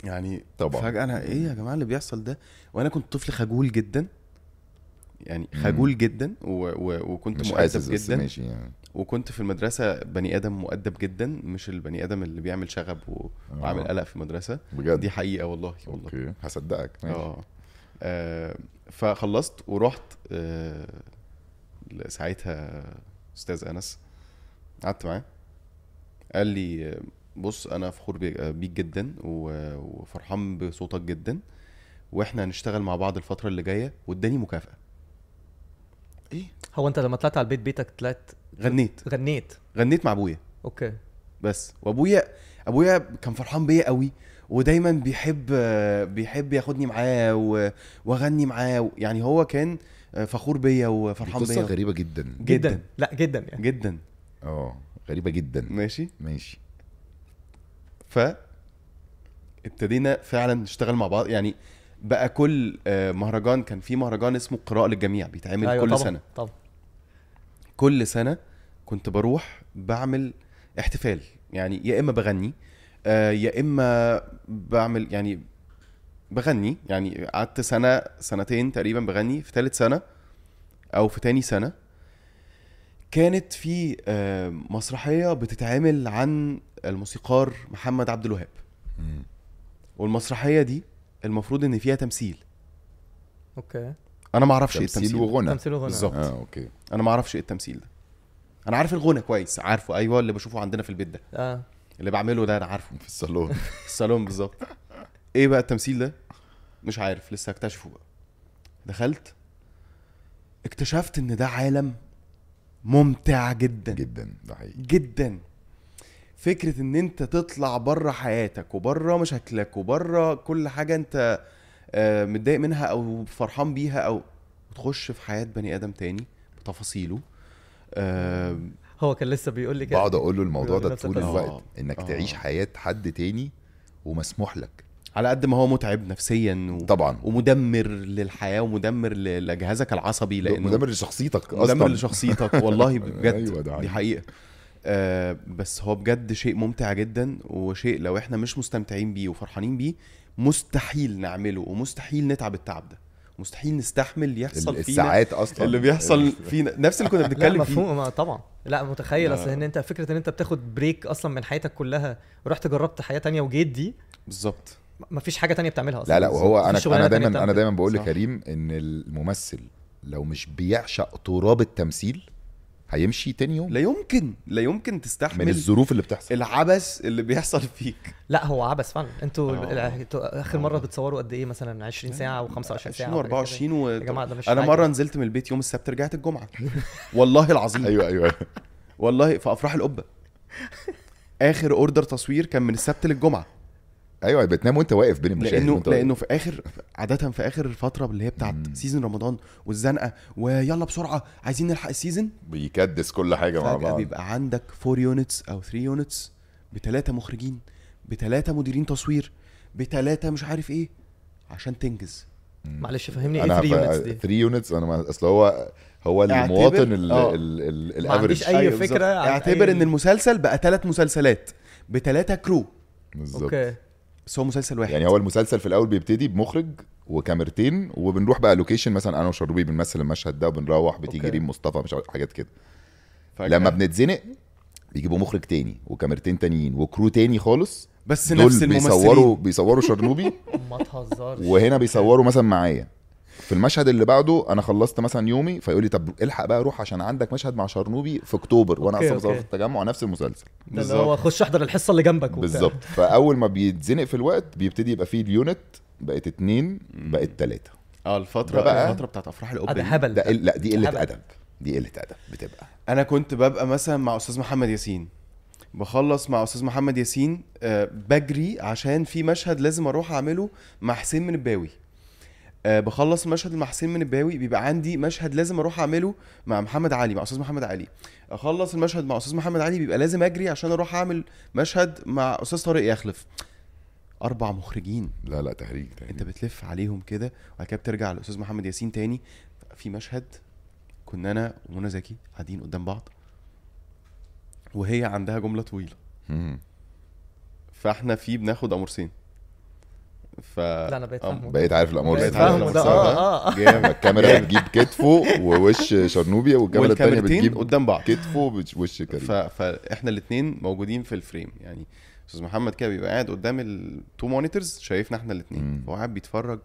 S1: يعني
S2: طبعاً.
S1: فجاه انا ايه يا جماعه اللي بيحصل ده وانا كنت طفل خجول جدا يعني خجول جدا و... و... وكنت
S2: مش
S1: مؤدب
S2: حاسس بس
S1: جدا
S2: ماشي يعني
S1: وكنت في المدرسه بني ادم مؤدب جدا مش البني ادم اللي بيعمل شغب و... وعامل
S2: آه.
S1: قلق في المدرسه
S2: بجد
S1: دي حقيقه والله والله
S2: اوكي هصدقك ماشي
S1: اه آه، فخلصت ورحت آه، ساعتها استاذ انس قعدت معاه قال لي آه، بص انا فخور بيك آه، بيك جدا و- وفرحان بصوتك جدا واحنا هنشتغل مع بعض الفتره اللي جايه واداني مكافاه
S4: هو انت لما طلعت على البيت بيتك طلعت
S1: غنيت
S4: غنيت
S1: غنيت مع ابويا
S4: اوكي
S1: بس وابويا ابويا كان فرحان بيا قوي ودايما بيحب بيحب ياخدني معاه و- واغني معاه يعني هو كان فخور بيا
S2: دي
S1: وفرحان
S2: قصه
S1: بيا
S2: غريبه جدا
S1: جداً.
S4: جدا لا جدا يعني
S1: جدا
S2: اه غريبه جدا
S1: ماشي
S2: ماشي
S1: ف ابتدينا فعلا نشتغل مع بعض يعني بقى كل آه، مهرجان كان في مهرجان اسمه قراءة للجميع بيتعمل أيوة كل
S4: طبعا
S1: سنة
S4: طبعا
S1: كل سنة كنت بروح بعمل احتفال يعني يا إما بغني آه، يا إما بعمل يعني بغني يعني قعدت سنة سنتين تقريبا بغني في ثالث سنة أو في تاني سنة كانت في آه، مسرحية بتتعمل عن الموسيقار محمد عبد الوهاب
S2: مم.
S1: والمسرحيه دي المفروض ان فيها تمثيل
S4: اوكي
S1: انا ما اعرفش ايه
S2: تمثيل
S1: التمثيل ده.
S2: وغنى
S4: تمثيل وغنى
S1: بالظبط.
S2: اه اوكي
S1: انا ما اعرفش ايه التمثيل ده انا عارف الغنى كويس عارفه ايوه اللي بشوفه عندنا في البيت ده
S4: اه
S1: اللي بعمله ده انا عارفه
S2: في الصالون
S1: في الصالون بالظبط ايه بقى التمثيل ده مش عارف لسه هكتشفه بقى دخلت اكتشفت ان ده عالم ممتع جدا
S2: جدا ده حقيقي
S1: جدا فكره ان انت تطلع بره حياتك وبره مشاكلك وبره كل حاجه انت آه، متضايق منها او فرحان بيها او تخش في حياه بني ادم تاني بتفاصيله آه،
S4: هو كان لسه بيقول لي كده
S2: بقعد اقول له الموضوع
S4: بيقول
S2: ده
S4: نفس
S2: طول
S4: القصة.
S2: الوقت انك
S1: آه.
S2: تعيش حياه حد تاني ومسموح لك
S1: على قد ما هو متعب نفسيا و...
S2: طبعا
S1: ومدمر للحياه ومدمر ل- لجهازك العصبي لانه
S2: مدمر لشخصيتك اصلا
S1: مدمر لشخصيتك والله بجد
S2: أيوة ده
S1: أيوة دي
S2: حقيقي.
S1: حقيقه آه بس هو بجد شيء ممتع جدا وشيء لو احنا مش مستمتعين بيه وفرحانين بيه مستحيل نعمله ومستحيل نتعب التعب ده مستحيل نستحمل يحصل فينا
S2: الساعات اصلا
S1: اللي بيحصل فينا نفس اللي كنا
S4: لا
S1: بنتكلم فيه
S4: مفهوم آه، طبعا لا متخيل
S1: لا.
S4: اصل ان انت فكره ان انت بتاخد بريك اصلا من حياتك كلها ورحت جربت حياه تانية وجيت دي
S1: بالظبط
S4: مفيش حاجه تانية بتعملها اصلا
S2: لا لا وهو
S4: مفيش
S2: انا
S4: شغلانة
S2: انا
S4: تانية
S2: دايما انا
S4: بتعملها.
S2: دايما بقول
S1: صح.
S2: لكريم ان الممثل لو مش بيعشق تراب التمثيل هيمشي تاني يوم
S1: لا يمكن لا يمكن
S2: من
S1: تستحمل
S2: الظروف اللي بتحصل
S1: العبث اللي بيحصل فيك
S4: لا هو عبث فعلا انتوا
S1: آه.
S4: ال- ال- انتوا اخر مره بتصوروا قد ايه مثلا 20 ساعه او 25 ساعه وحاجات كده.
S1: و24
S4: يا جماعه ده مش
S1: انا
S4: حاجة.
S1: مره نزلت من البيت يوم السبت رجعت الجمعه والله العظيم
S2: ايوه ايوه
S1: والله في افراح القبه اخر اوردر تصوير كان من السبت للجمعه
S2: ايوه بتنام وانت واقف بين المشاهد
S1: لانه
S2: وانت واقف.
S1: لانه في اخر عاده في اخر الفتره اللي هي بتاعت سيزون رمضان والزنقه ويلا بسرعه عايزين نلحق السيزون
S2: بيكدس كل حاجه مع
S1: فجاه
S2: بعض
S1: بيبقى عندك 4 يونتس او 3 يونتس بثلاثه مخرجين بثلاثه مديرين تصوير بثلاثه مش عارف ايه عشان تنجز
S4: معلش فهمني ايه
S2: انا
S4: 3 يونتس دي
S2: 3 يونتس انا ما- اصل هو هو
S1: اعتبر-
S2: المواطن ال-
S1: آه.
S2: ال- ال-
S4: ما عنديش
S2: الافرج
S4: أي
S1: أيوة
S4: فكرة
S1: بالظبط.
S4: عن
S1: اعتبر
S4: أي-
S1: ان المسلسل بقى ثلاث مسلسلات بثلاثه كرو
S2: بالظبط
S4: اوكي
S1: بس هو مسلسل واحد
S2: يعني هو المسلسل في الاول بيبتدي بمخرج وكاميرتين وبنروح بقى لوكيشن مثلا انا وشروبي بنمثل المشهد ده وبنروح بتيجي
S4: أوكي.
S2: ريم مصطفى مش عارف حاجات كده
S1: فجأة.
S2: لما بنتزنق بيجيبوا مخرج تاني وكاميرتين تانيين وكرو تاني خالص
S1: بس نفس
S2: دول بيصوروا
S1: الممثلين
S2: بيصوروا شرنوبي
S4: ما تهزرش
S2: وهنا بيصوروا مثلا معايا في المشهد اللي بعده انا خلصت مثلا يومي فيقول لي طب الحق بقى روح عشان عندك مشهد مع شرنوبي في اكتوبر وانا
S4: أوكي،
S2: اصلا بصور في
S4: أوكي.
S2: التجمع نفس المسلسل
S4: ده اللي هو خش احضر الحصه اللي جنبك وبتاع.
S2: بالظبط فاول ما بيتزنق في الوقت بيبتدي يبقى فيه اليونت بقت اتنين بقت تلاته
S1: اه الفتره
S2: ده بقى-
S1: الفتره بتاعت افراح
S4: آه، ده
S1: القبه دي.
S4: هبل
S2: ده إيه؟ قل- لا دي
S4: هبل.
S2: قله ادب دي قله ادب بتبقى
S1: انا كنت ببقى مثلا مع استاذ محمد ياسين بخلص مع استاذ محمد ياسين آه، بجري عشان في مشهد لازم اروح اعمله مع حسين من الباوي آه، بخلص المشهد مع حسين من الباوي بيبقى عندي مشهد لازم اروح اعمله مع محمد علي مع استاذ محمد علي اخلص المشهد مع استاذ محمد علي بيبقى لازم اجري عشان اروح اعمل مشهد مع استاذ طارق يخلف اربع مخرجين
S2: لا لا تهريج تهريج
S1: انت بتلف عليهم كده وبعد كده بترجع للاستاذ محمد ياسين تاني في مشهد كنا انا ومنى زكي قاعدين قدام بعض وهي عندها جمله طويله
S2: مم.
S1: فاحنا فيه بناخد قاموسين ف
S4: لا انا بقيت
S1: آه،
S4: فاهمه
S2: بقيت عارف الامور
S1: بقيت
S2: بقيت
S1: عارف آه.
S2: عارف
S4: فاهمه ده
S2: الامور
S4: اه اه
S1: جامد
S2: الكاميرا بتجيب كتفه ووش شرنوبيا والكاميرا التانيه
S1: والكاميرتين
S2: بتجيب
S1: قدام بعض
S2: كتفه ووش
S1: ف...
S2: كريم
S1: فاحنا الاثنين موجودين في الفريم يعني استاذ محمد كده بيبقى قاعد قدام التو مونيتورز شايفنا احنا الاثنين
S2: مم.
S1: فهو قاعد بيتفرج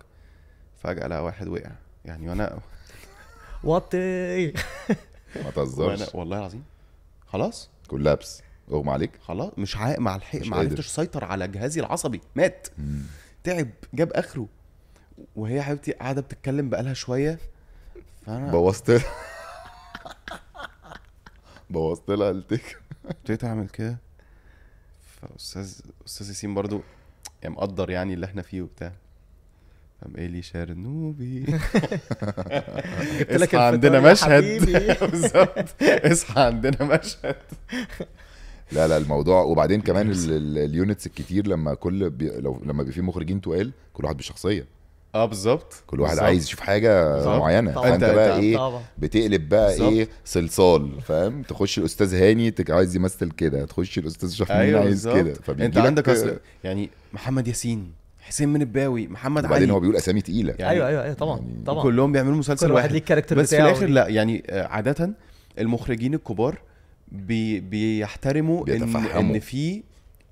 S1: فجاه لقى واحد وقع يعني وانا
S4: وات إيه.
S2: ما
S1: وانا
S2: تهزرش
S1: والله العظيم خلاص
S2: كولابس اغمى عليك
S1: خلاص مش عا... مع الحق
S2: مش
S1: ما
S2: قادر.
S1: عرفتش اسيطر على جهازي العصبي مات تعب جاب اخره وهي حبيبتي قاعده بتتكلم بقالها شويه فانا
S2: بوظت لها بوظت لها التك
S1: ابتديت اعمل كده فاستاذ استاذ ياسين برضو يعني مقدر يعني اللي احنا فيه وبتاع إيه قام قايل لي شرنوبي
S4: جبت لك
S1: اصحى عندنا
S4: الفطار يا
S1: مشهد
S4: حبيبي.
S1: بالظبط اصحى عندنا مشهد
S2: لا لا الموضوع وبعدين كمان ال- ال- اليونتس الكتير لما كل بي... لو لما بيبقى في مخرجين تقال كل واحد بشخصيه
S1: اه بالظبط
S2: كل واحد
S1: بالظبط.
S2: عايز يشوف حاجه
S1: بالظبط.
S2: معينه
S4: طبعاً.
S2: فانت
S1: أنت-
S2: بقى
S1: أنت-
S2: ايه
S4: طبعا
S2: بتقلب بقى
S1: بالظبط.
S2: ايه صلصال فاهم تخش الاستاذ هاني تك عايز يمثل كده تخش الاستاذ شاهين
S1: ايوه
S2: عايز
S1: بالظبط
S2: كده آه،
S1: انت عندك اصل يعني محمد ياسين حسين من الباوي محمد علي
S2: وبعدين هو بيقول اسامي تقيله
S1: يعني
S4: ايوه ايوه ايوه طبعا
S2: يعني
S4: طبعا
S1: كلهم بيعملوا مسلسل
S4: كل واحد
S1: واحد
S4: ليه الكاركتر
S1: بس في
S4: بتاعه
S1: الاخر
S4: وليه-
S1: لا يعني آه، عاده المخرجين الكبار بي بيحترموا ان
S2: بيتفهموا.
S1: ان في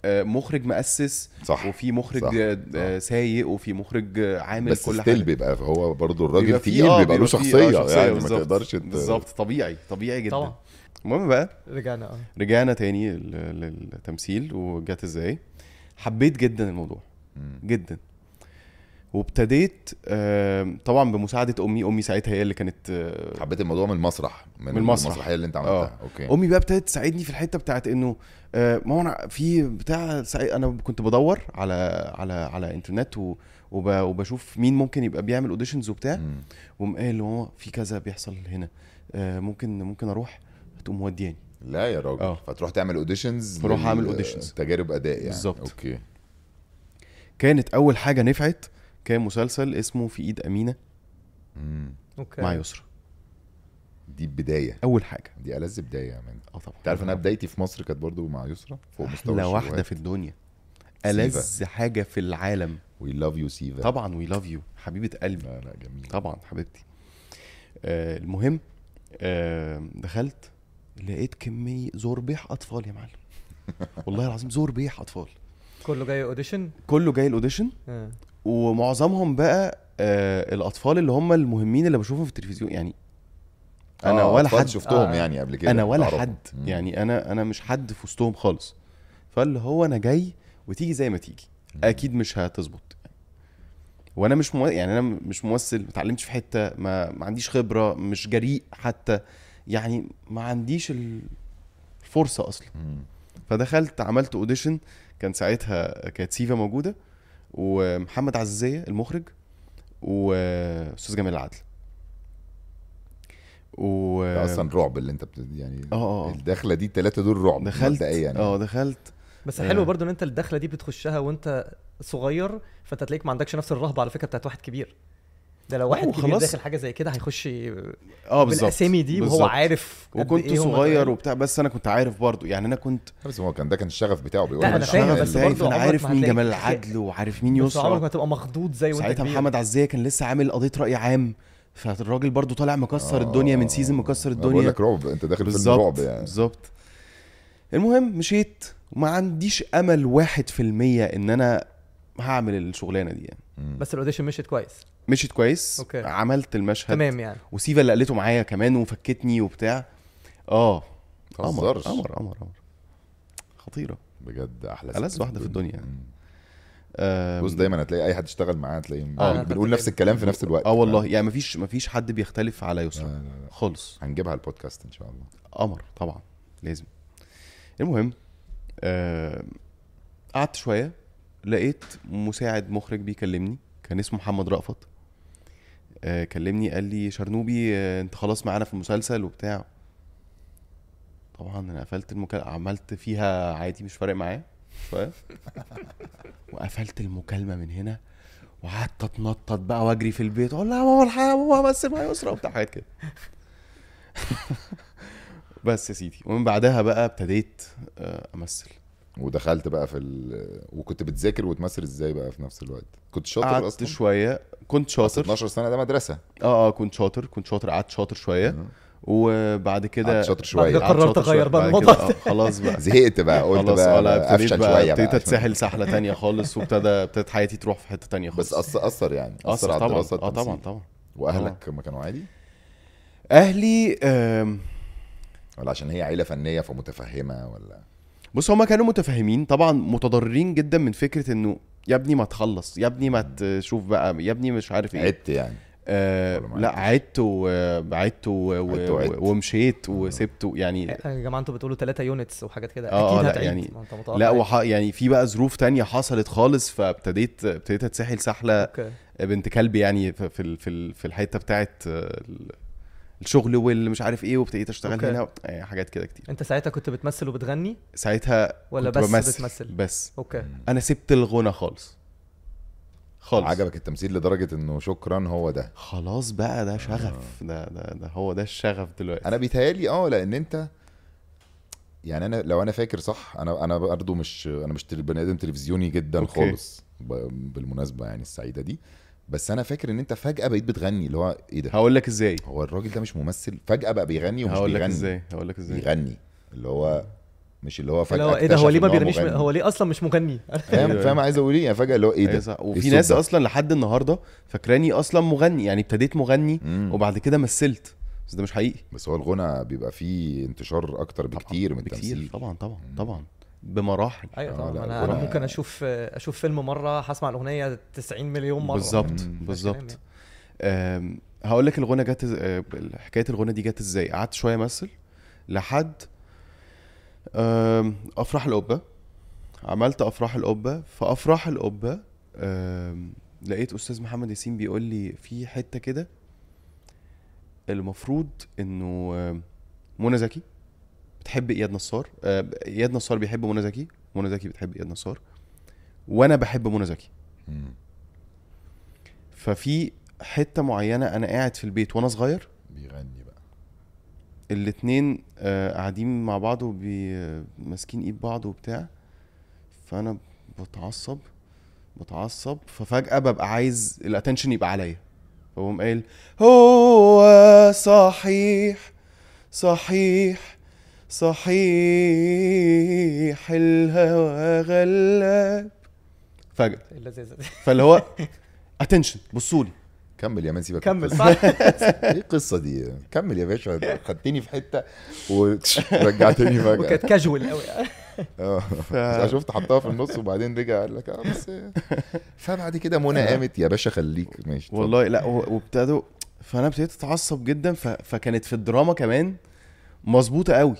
S1: آه، مخرج مؤسس
S2: صح
S1: وفي مخرج
S2: صح،
S1: آه، آه، سايق وفي مخرج آه، عامل
S2: بس
S1: كل
S2: ستيل
S1: حاجه
S2: بيبقى هو برضه
S1: بيبقى
S2: الراجل
S1: فيه-
S2: تقيل
S1: آه،
S2: بيبقى له
S1: فيه- آه،
S2: شخصيه يعني ما
S1: بالظبط.
S2: تقدرش ت-
S1: بالظبط طبيعي طبيعي جدا
S4: طبعا
S1: المهم بقى
S4: رجعنا اه
S1: رجعنا تاني لل- للتمثيل وجات ازاي حبيت جدا الموضوع جدا وابتديت آم، طبعا بمساعده امي امي ساعتها هي اللي كانت آه،
S2: حبيت الموضوع من المسرح من,
S1: من المسرح. اه.
S2: المسرحيه اللي انت عملتها اوكي
S1: امي بقى ابتدت تساعدني في الحته بتاعت انه آه، ماما انا في بتاع ساعي- انا كنت بدور على على على انترنت و- وب- وبشوف مين ممكن يبقى بيعمل اوديشنز وبتاع
S2: مم.
S1: وقام قايل لماما في كذا بيحصل هنا آه، ممكن ممكن اروح تقوم ودياني
S2: لا يا راجل
S1: آه.
S2: فتروح تعمل اوديشنز
S1: فروح أعمل auditions.
S2: تجارب اداء يعني
S1: بالظبط.
S2: اوكي
S1: كانت اول حاجه نفعت كان مسلسل اسمه في ايد امينه
S2: مم.
S4: اوكي
S1: مع يسرا
S2: دي بدايه
S1: اول حاجه
S2: دي ألذ بدايه يا مان
S1: اه طبعا
S2: انت عارف إن انا بدايتي في مصر كانت برضو مع يسرا فوق مستوى
S1: احلى
S2: الشبهات.
S1: واحده في الدنيا
S2: سيفا.
S1: ألذ حاجة في العالم
S2: وي لاف يو سيفا
S1: طبعا وي لاف يو حبيبة قلبي
S2: لا لا جميل
S1: طبعا حبيبتي آه المهم آه دخلت لقيت كمية زوربيح أطفال يا معلم والله العظيم زوربيح أطفال
S4: كله جاي اوديشن
S1: كله جاي الأوديشن
S4: آه.
S1: ومعظمهم بقى آه الاطفال اللي هم المهمين اللي بشوفهم في التلفزيون يعني انا
S2: آه،
S1: ولا
S2: أطفال
S1: حد
S2: شفتهم
S4: آه.
S2: يعني قبل كده
S1: انا ولا
S2: أعرفهم.
S1: حد
S2: مم.
S1: يعني انا انا مش حد في وسطهم خالص فاللي هو انا جاي وتيجي زي ما تيجي اكيد مش هتظبط وانا مش مو... يعني انا مش ممثل ما اتعلمتش في حته ما ما عنديش خبره مش جريء حتى يعني ما عنديش ال- الفرصه اصلا
S2: مم.
S1: فدخلت عملت اوديشن كان ساعتها كانت سيفا موجوده ومحمد عزيزيه المخرج واستاذ جمال العدل و
S2: ده اصلا رعب اللي انت بت... يعني
S1: اه اه
S2: الدخله دي الثلاثه دول رعب
S1: دخلت
S2: مبدئيا يعني.
S1: اه دخلت
S4: بس
S1: آه.
S4: حلو برضو ان انت الدخله دي بتخشها وانت صغير فانت تلاقيك ما عندكش نفس الرهبه على فكره بتاعت واحد كبير ده لو واحد كبير
S1: وخلاص.
S4: داخل حاجه زي كده هيخش
S1: اه بالظبط
S4: بالاسامي آه، دي وهو
S1: بالظبط.
S4: عارف قد
S1: وكنت
S4: إيه هم
S1: صغير
S4: تقال.
S1: وبتاع بس انا كنت عارف برضو يعني انا كنت
S2: بس هو كان ده كان الشغف بتاعه بيقول
S4: لا،
S2: لك
S4: أنا فاهم،
S2: شغف
S4: بس
S2: ال-
S1: عارف
S4: برضو
S1: انا
S4: عمرك
S1: عارف
S4: ما
S1: مين
S4: هتلاقي-
S1: جمال العدل وعارف مين
S4: بس عمرك ما
S1: يسرا
S4: تبقى مخضوض زي وانت
S1: ساعتها
S4: كبير
S1: محمد عزيزيه كان لسه عامل قضيه راي عام فالراجل برضو طالع مكسر
S2: آه،
S1: الدنيا
S2: آه،
S1: من سيزون مكسر
S2: أنا بقول
S1: الدنيا
S2: لك رعب انت داخل فيلم
S1: بالظبط
S2: رعب يعني
S1: بالظبط المهم مشيت وما عنديش امل واحد في المية ان انا هعمل الشغلانه دي يعني
S2: مم.
S4: بس الاوديشن مشيت كويس
S1: مشيت كويس
S4: أوكي.
S1: عملت المشهد
S4: تمام يعني
S1: وسيفا اللي قلته معايا كمان وفكتني وبتاع اه قمر
S2: متهزرش.
S1: قمر قمر قمر خطيره
S2: بجد احلى
S1: ألذ
S2: ست
S1: واحدة في الدنيا. يعني.
S2: مم.
S1: آم،
S2: بص دايما هتلاقي اي حد اشتغل معاه هتلاقيه
S4: آه.
S2: بنقول نفس الكلام في نفس الوقت آه،
S1: اه والله يعني مفيش مفيش حد بيختلف على يسرا
S2: لا، لا، لا.
S1: خالص
S2: هنجيبها البودكاست ان شاء الله
S1: قمر طبعا لازم المهم آم، قعدت شويه لقيت مساعد مخرج بيكلمني كان اسمه محمد رأفت آه، كلمني قال لي شرنوبي آه، انت خلاص معانا في المسلسل وبتاع طبعا انا قفلت المكالمه عملت فيها عادي مش فارق معايا شويه وقفلت المكالمه من هنا وقعدت اتنطط بقى واجري في البيت اقول لها يا ماما الحقيقه يا ماما بس مع يسرا وبتاع حاجات كده بس يا سيدي ومن بعدها بقى ابتديت آه، امثل
S2: ودخلت بقى في ال... آه، وكنت بتذاكر وتمثل ازاي بقى في نفس الوقت كنت شاطر
S1: قعدت
S2: اصلا
S1: شويه كنت
S2: أصل
S1: شاطر
S2: 12 سنه ده مدرسه
S1: اه اه كنت شاطر كنت شاطر قعدت شاطر شويه وبعد كده
S2: آه. قعدت شاطر
S4: بعد
S2: شويه
S4: كده- قررت
S1: قعدت شاطر شوية.
S4: أغير بقى
S1: بعد
S4: الموضوع
S1: كده، آه، خلاص بقى
S2: زهقت بقى قلت
S1: خلاص
S2: بقى,
S1: اه لا ابتديت
S2: افشل
S1: بقى
S2: شويه
S1: ابتديت
S2: بقى
S1: اتسهل سحله تانية خالص وابتدى ابتدت حياتي تروح في حته تانية خالص
S2: بس أث- اثر يعني اثر على
S1: طبعا
S2: الدراسه
S1: اه طبعا
S2: التمثيل.
S1: طبعا آه.
S2: واهلك ما كانوا عادي
S1: اهلي آم،
S2: ولا عشان هي عيله فنيه فمتفهمه ولا
S1: بص هما كانوا متفاهمين طبعا متضررين جدا من فكره انه يا ابني ما تخلص يا ابني ما تشوف بقى يا ابني مش عارف ايه
S2: عدت يعني
S1: آه
S2: ولا ما
S1: لا
S2: عدتش؟
S1: عدت وعدت و...
S2: عدت
S1: و...
S2: وعدت.
S1: ومشيت وسبت يعني
S4: يا جماعه انتوا بتقولوا 3 يونتس وحاجات كده
S1: آه،
S4: اكيد
S1: آه، لا،
S4: هتعيد
S1: يعني-
S4: ما انت
S1: لا
S4: متوقع.
S1: وح... يعني في بقى ظروف تانية حصلت خالص فابتديت ابتديت اتسحل سحله
S4: اوكي
S1: بنت كلب يعني في في ال- في, ال- في الحته بتاعت آه، ال- الشغل واللي مش عارف ايه وابتديت اشتغل
S4: أوكي.
S1: هنا آه، حاجات كده كتير
S4: انت ساعتها كنت بتمثل وبتغني
S1: ساعتها
S4: ولا
S1: كنت
S4: بس
S1: بمثل
S4: بتمثل
S1: بس
S4: اوكي
S1: انا سبت الغنى خالص خالص
S2: عجبك التمثيل لدرجه انه شكرا هو ده
S1: خلاص بقى ده شغف
S2: آه.
S1: ده ده, ده هو ده الشغف دلوقتي
S2: انا بيتهيالي اه لان انت يعني انا لو انا فاكر صح انا انا برضه مش انا مش تل- بني ادم تلفزيوني جدا
S1: أوكي.
S2: أوكي. خالص ب- بالمناسبه يعني السعيده دي بس انا فاكر ان انت فجاه بقيت بتغني اللي هو ايه ده
S1: هقول لك ازاي
S2: هو الراجل ده مش ممثل فجاه بقى بيغني ومش
S1: هقول لك
S2: بيغني
S1: ازاي هقول لك ازاي
S2: بيغني اللي هو مش اللي هو
S4: اللي
S2: فجاه
S4: هو ايه ده هو
S2: اكتشف
S4: ليه ما
S2: إن
S4: بيغنيش
S2: مغني.
S4: هو أيوه، ليه اصلا مش مغني
S2: فاهم
S1: أيوة.
S2: فاهم عايز اقول ايه يعني فجاه اللي هو ايه
S1: أيوة
S2: ده
S1: صح.
S2: إيه
S1: وفي
S2: الصوت
S1: ناس
S2: ده؟
S1: اصلا لحد النهارده فاكراني اصلا مغني يعني ابتديت مغني
S2: مم.
S1: وبعد كده مثلت بس ده مش حقيقي
S2: بس هو الغنى بيبقى فيه انتشار اكتر بكتير من
S1: بكتير
S2: التمثيل
S1: طبعا طبعا طبعا بمراحل
S4: ايوه
S2: آه،
S4: طبعا
S2: لا،
S4: انا انا
S2: الغنى-
S4: ممكن اشوف اشوف فيلم مره هسمع الاغنيه 90 مليون مره
S1: بالظبط
S2: مم.
S1: بالظبط
S4: كلام
S1: أم، هقول لك الغنى جت إز- أه، حكايه الغنى دي جت ازاي قعدت شويه امثل لحد أم، افراح القبه عملت افراح القبه في افراح القبه أم، لقيت استاذ محمد ياسين بيقول لي في حته كده المفروض انه أم، منى زكي بتحب اياد نصار آه، اياد نصار بيحب منى زكي منى زكي بتحب اياد نصار وانا بحب منى زكي
S2: مم.
S1: ففي حته معينه انا قاعد في البيت وانا صغير
S2: بيغني بقى
S1: الاتنين آه، قاعدين مع بعض وماسكين ايد بعض وبتاع فانا بتعصب بتعصب ففجأة ببقى عايز الاتنشن يبقى عليا فبقوم قايل هو صحيح صحيح صحيح الهوى غلاب فجأة
S4: إيه اللذيذه دي
S1: فاللي هو اتنشن بصوا لي
S2: كمل يا مان سيبك من
S4: كمل
S2: القصة.
S4: صح
S2: ايه القصه دي كمل يا باشا أنت خدتني في حته ورجعتني فجاه
S4: وكانت كاجوال قوي
S2: اه
S1: ف...
S2: بس شفت حطها في النص وبعدين رجع قال لك اه بس فبعد كده منى قامت يا باشا خليك ماشي اتفضل.
S1: آه. والله لا و- وابتدوا فانا ابتديت اتعصب جدا ف... فكانت في الدراما كمان مظبوطه قوي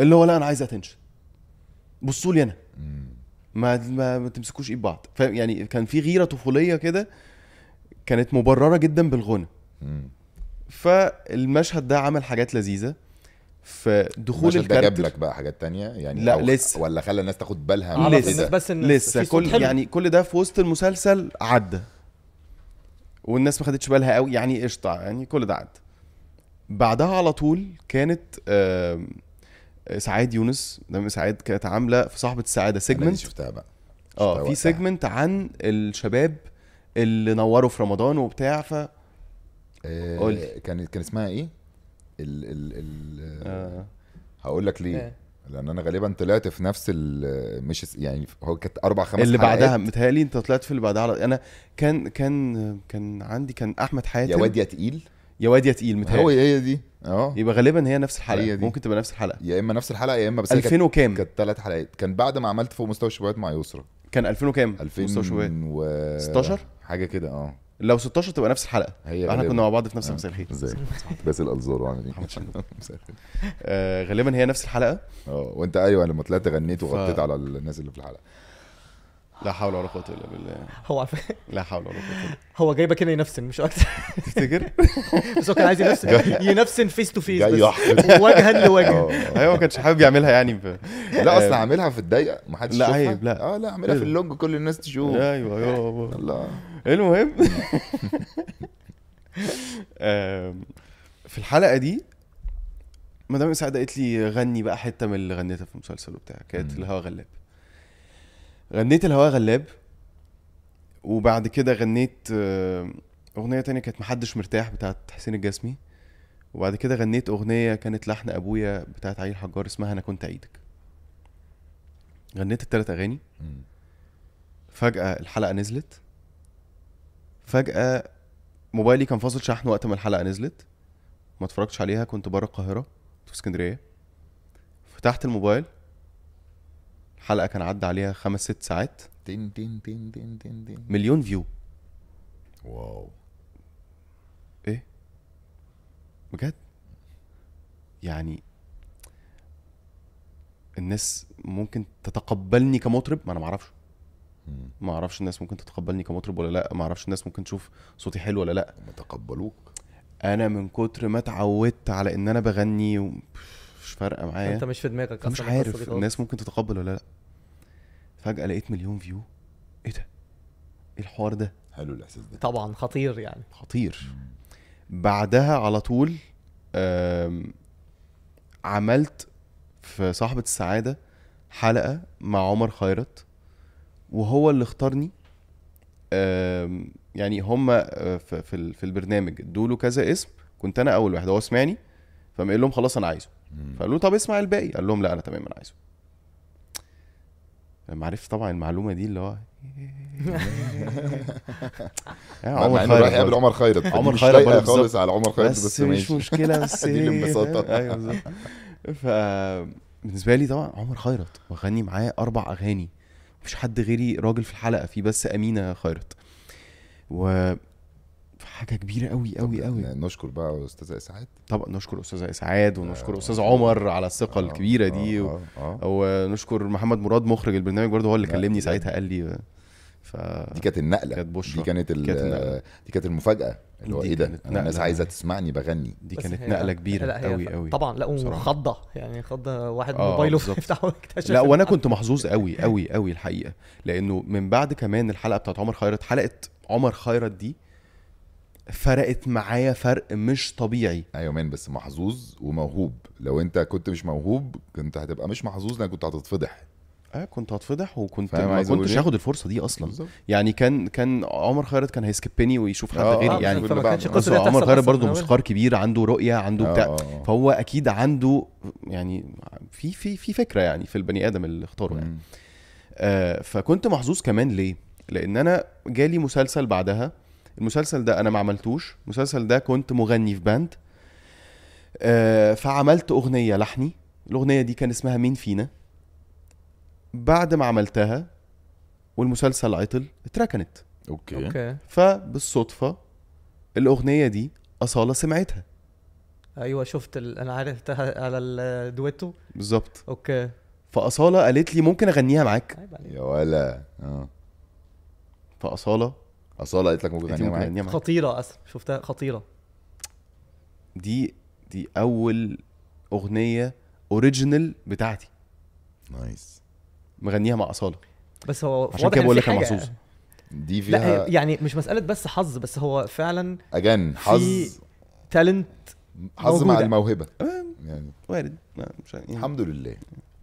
S1: اللي هو لا انا عايز اتنشن بصوا لي انا
S2: مم.
S1: ما ما, ما تمسكوش ايد بعض ف... يعني كان في غيره طفوليه كده كانت مبرره جدا بالغنى
S2: مم.
S1: فالمشهد ده عمل حاجات لذيذه فدخول
S2: المشهد ده جاب
S1: الكاركتر
S2: لك بقى حاجات تانية يعني
S1: لا،
S2: أو-
S1: لسه.
S2: ولا خلى الناس تاخد بالها من
S4: عرف
S1: لسه.
S4: الناس
S2: كده؟
S4: بس ان
S1: لسه
S4: في صوت
S1: كل
S4: حلو.
S1: يعني كل ده في وسط المسلسل عدى والناس ما خدتش بالها قوي يعني قشطه يعني كل ده عدى بعدها على طول كانت آم، سعاد يونس دم سعاد كانت عامله في صاحبه السعاده
S2: أنا دي
S1: سيجمنت
S2: شفتها بقى شفتها
S1: اه
S2: وقتها.
S1: في سيجمنت عن الشباب اللي نوروا في رمضان وبتاع ف
S2: آه،
S1: قولي.
S2: كان كان اسمها ايه ال ال ال
S1: آه، إيه؟
S2: هقول لك ليه
S4: آه.
S2: لان انا غالبا طلعت في نفس ال مش اس- يعني هو كانت اربع خمس
S1: اللي
S2: حلقات.
S1: بعدها متهيألي انت طلعت في اللي بعدها على- انا كان كان كان عندي كان احمد حاتم
S2: يا واد يا تقيل
S1: يا واد يا تقيل
S2: هو
S1: متهيألي
S2: هي دي اه
S1: يبقى غالبا هي نفس الحلقه
S2: هي دي.
S1: ممكن تبقى نفس الحلقه
S2: يا اما نفس الحلقه يا اما بس هي كانت-
S1: 2000 وكام
S2: كانت ثلاث حلقات كان بعد ما عملت فوق مستوى الشباب مع يسرا
S1: كان 2000 وكام؟ 2000 شويه 16
S2: 2016 حاجه كده اه
S1: لو 16 تبقى نفس الحلقه
S2: هي
S1: احنا
S2: غالباً.
S1: كنا مع بعض في نفس
S2: آه.
S1: مساء الخير
S2: ازاي بس الانظار وعامل ايه مساء الخير.
S1: آه غالبا هي نفس الحلقه
S2: اه وانت ايوه لما طلعت غنيت
S1: ف-
S2: وغطيت على الناس اللي في الحلقه
S1: لا حول ولا قوه الا بالله
S4: هو على فكرة-
S1: لا حول ولا قوه إلا بالله.
S4: هو جايبه كده ينفسن مش اكتر
S1: تفتكر
S4: بس هو كان عايز ينفسن ينفسن فيس تو فيس
S2: جاي
S4: بس
S2: يحفظ آه.
S4: وجها لوجه
S1: ايوه ما كانش حابب يعملها يعني ف...
S2: لا اصل عاملها في الضيقه ما حدش
S1: لا
S2: يشوفها.
S1: عيب، لا.
S2: اه لا عاملها
S1: إيه
S2: في
S1: ده؟
S2: اللونج كل الناس تشوف
S1: ايوه ايوه
S2: الله
S1: المهم آم، في الحلقه دي مدام سعد قالت لي غني بقى حته من اللي غنيتها في المسلسل وبتاع كانت
S2: مم.
S1: الهوا غلاب غنيت الهوا غلاب وبعد كده غنيت آم، اغنيه تانية كانت محدش مرتاح بتاعت حسين الجسمي وبعد كده غنيت اغنيه كانت لحن ابويا بتاعت علي الحجار اسمها انا كنت اعيدك غنيت التلات اغاني
S2: مم.
S1: فجأة الحلقة نزلت فجأة موبايلي كان فاصل شحن وقت ما الحلقة نزلت ما اتفرجتش عليها كنت بره القاهرة كنت في اسكندرية فتحت الموبايل الحلقة كان عدى عليها خمس ست ساعات
S2: تن تن تن تن تن تن
S1: مليون فيو
S2: واو
S1: ايه بجد يعني الناس ممكن تتقبلني كمطرب ما انا معرفش
S2: مم.
S1: ما اعرفش الناس ممكن تتقبلني كمطرب ولا لا ما اعرفش الناس ممكن تشوف صوتي حلو ولا لا
S2: هما تقبلوك
S1: انا من كتر ما اتعودت على ان انا بغني و- مش فارقه معايا
S4: انت مش في دماغك
S1: مش
S4: أصلاً القصة دي
S1: عارف
S4: خالص.
S1: الناس ممكن تتقبل ولا لا فجاه لقيت مليون فيو ايه ده ايه الحوار ده
S2: حلو الاحساس ده
S4: طبعا خطير يعني
S1: خطير بعدها على طول آم، عملت في صاحبة السعادة حلقة مع عمر خيرت وهو اللي اختارني آم، يعني هما آه، في في ال- في البرنامج ادوا له كذا اسم كنت انا اول واحد هو سمعني فقام قايل لهم خلاص انا عايزه
S2: مم.
S1: فقالوا له طب اسمع الباقي قال لهم لا انا تمام انا عايزه لما عرفت طبعا المعلومه دي اللي هو يا
S2: مع مع انه
S1: آه، خيرت
S2: رايح يقابل
S1: برضه.
S2: عمر خيرت فدي
S1: عمر
S2: مش
S1: خيرت
S2: لايقة
S1: برضه
S2: خالص
S1: بالظبط.
S2: على عمر خيرت بس,
S1: بس مش
S2: ماشي
S1: مشكله بس
S2: دي الانبساطة.
S1: ايوه بالظبط ف بالنسبه لي طبعا عمر خيرت واغني معاه اربع اغاني مفيش حد غيري راجل في الحلقه في بس امينه خيرت و حاجه كبيره قوي قوي قوي
S2: آه، نشكر بقى استاذ اسعاد
S1: طبعا نشكر استاذ اسعاد ونشكر استاذ عمر على الثقه
S2: آه،
S1: الكبيره دي
S2: آه، آه، آه.
S1: ونشكر محمد مراد مخرج البرنامج برضه هو اللي
S2: لا،
S1: كلمني
S2: يعني.
S1: ساعتها قال لي ف
S2: دي كانت النقله
S1: كانت بشرى.
S2: دي كانت ال-
S1: كانت النقلة.
S2: دي كانت المفاجاه اللي هو
S1: دي
S2: ايه ده
S1: كانت
S2: أنا الناس
S1: نقلة.
S2: عايزه تسمعني بغني
S1: دي
S4: بس
S1: كانت
S4: هي-
S1: نقله
S4: لا،
S1: كبيره
S4: هي
S1: قوي
S4: ف-
S1: قوي
S4: طبعا لا
S1: بصراحة.
S4: ومخضه يعني خض واحد
S1: آه،
S4: موبايله
S1: بالظبط.
S4: يفتحه ويكتشف
S1: لا وانا كنت محظوظ قوي قوي قوي الحقيقه لانه من بعد كمان الحلقه بتاعت عمر خيرت حلقه عمر خيرت دي فرقت معايا فرق مش طبيعي
S2: ايوه مان بس محظوظ وموهوب لو انت كنت مش موهوب كنت هتبقى مش محظوظ لانك كنت هتتفضح
S1: اه كنت هتفضح وكنت
S2: فاهم
S1: ما
S2: عايز أقول
S1: كنتش
S2: إيه؟
S1: هاخد الفرصه دي اصلا
S2: بالظبط.
S1: يعني كان كان عمر خيرت كان هيسكبني ويشوف حد
S2: آه،
S1: غيري
S2: آه،
S1: يعني
S2: بالظبط.
S4: فما كانش
S1: بس
S4: القصه دي
S1: عمر
S4: هتحصل
S1: خيرت
S4: أصلا
S1: برضه
S4: من أولها.
S1: موسيقار كبير عنده رؤيه عنده
S2: آه،
S1: بتاع
S2: آه، آه.
S1: فهو اكيد عنده يعني في في في فكره يعني في البني ادم اللي اختاره يعني
S2: مم.
S1: آه، فكنت محظوظ كمان ليه؟ لان انا جالي مسلسل بعدها المسلسل ده انا ما عملتوش المسلسل ده كنت مغني في باند آه، فعملت اغنيه لحني الاغنيه دي كان اسمها مين فينا بعد ما عملتها والمسلسل عطل اتركنت يعني.
S2: اوكي
S4: اوكي
S1: فبالصدفه الاغنيه دي اصاله سمعتها
S4: ايوه شفت ال... انا عرفتها على الدويتو
S1: بالظبط
S4: اوكي
S1: فاصاله قالت لي ممكن اغنيها معاك
S4: عيب عليك
S2: يا ولا اه
S1: فاصاله
S2: اصاله قالت لك ممكن
S1: قالت لي
S2: اغنيها
S1: ممكن
S2: معاك
S1: اغنيها معاك
S4: خطيره اصلا شفتها خطيره
S1: دي دي اول اغنيه اوريجينال بتاعتي
S2: نايس
S1: مغنيها مع اصاله
S4: بس هو
S1: عشان
S4: واضح
S1: كده
S4: إن
S1: بقول
S4: في
S1: لك انا
S4: حاجة-
S1: محظوظ
S2: دي
S4: لا
S2: فيها
S4: يعني مش مساله بس حظ بس هو فعلا
S2: اجان حظ
S4: تالنت
S2: حظ مع
S4: موجودة.
S2: الموهبة
S1: آه.
S2: يعني
S1: وارد ما مش عارف- يعني
S2: الحمد لله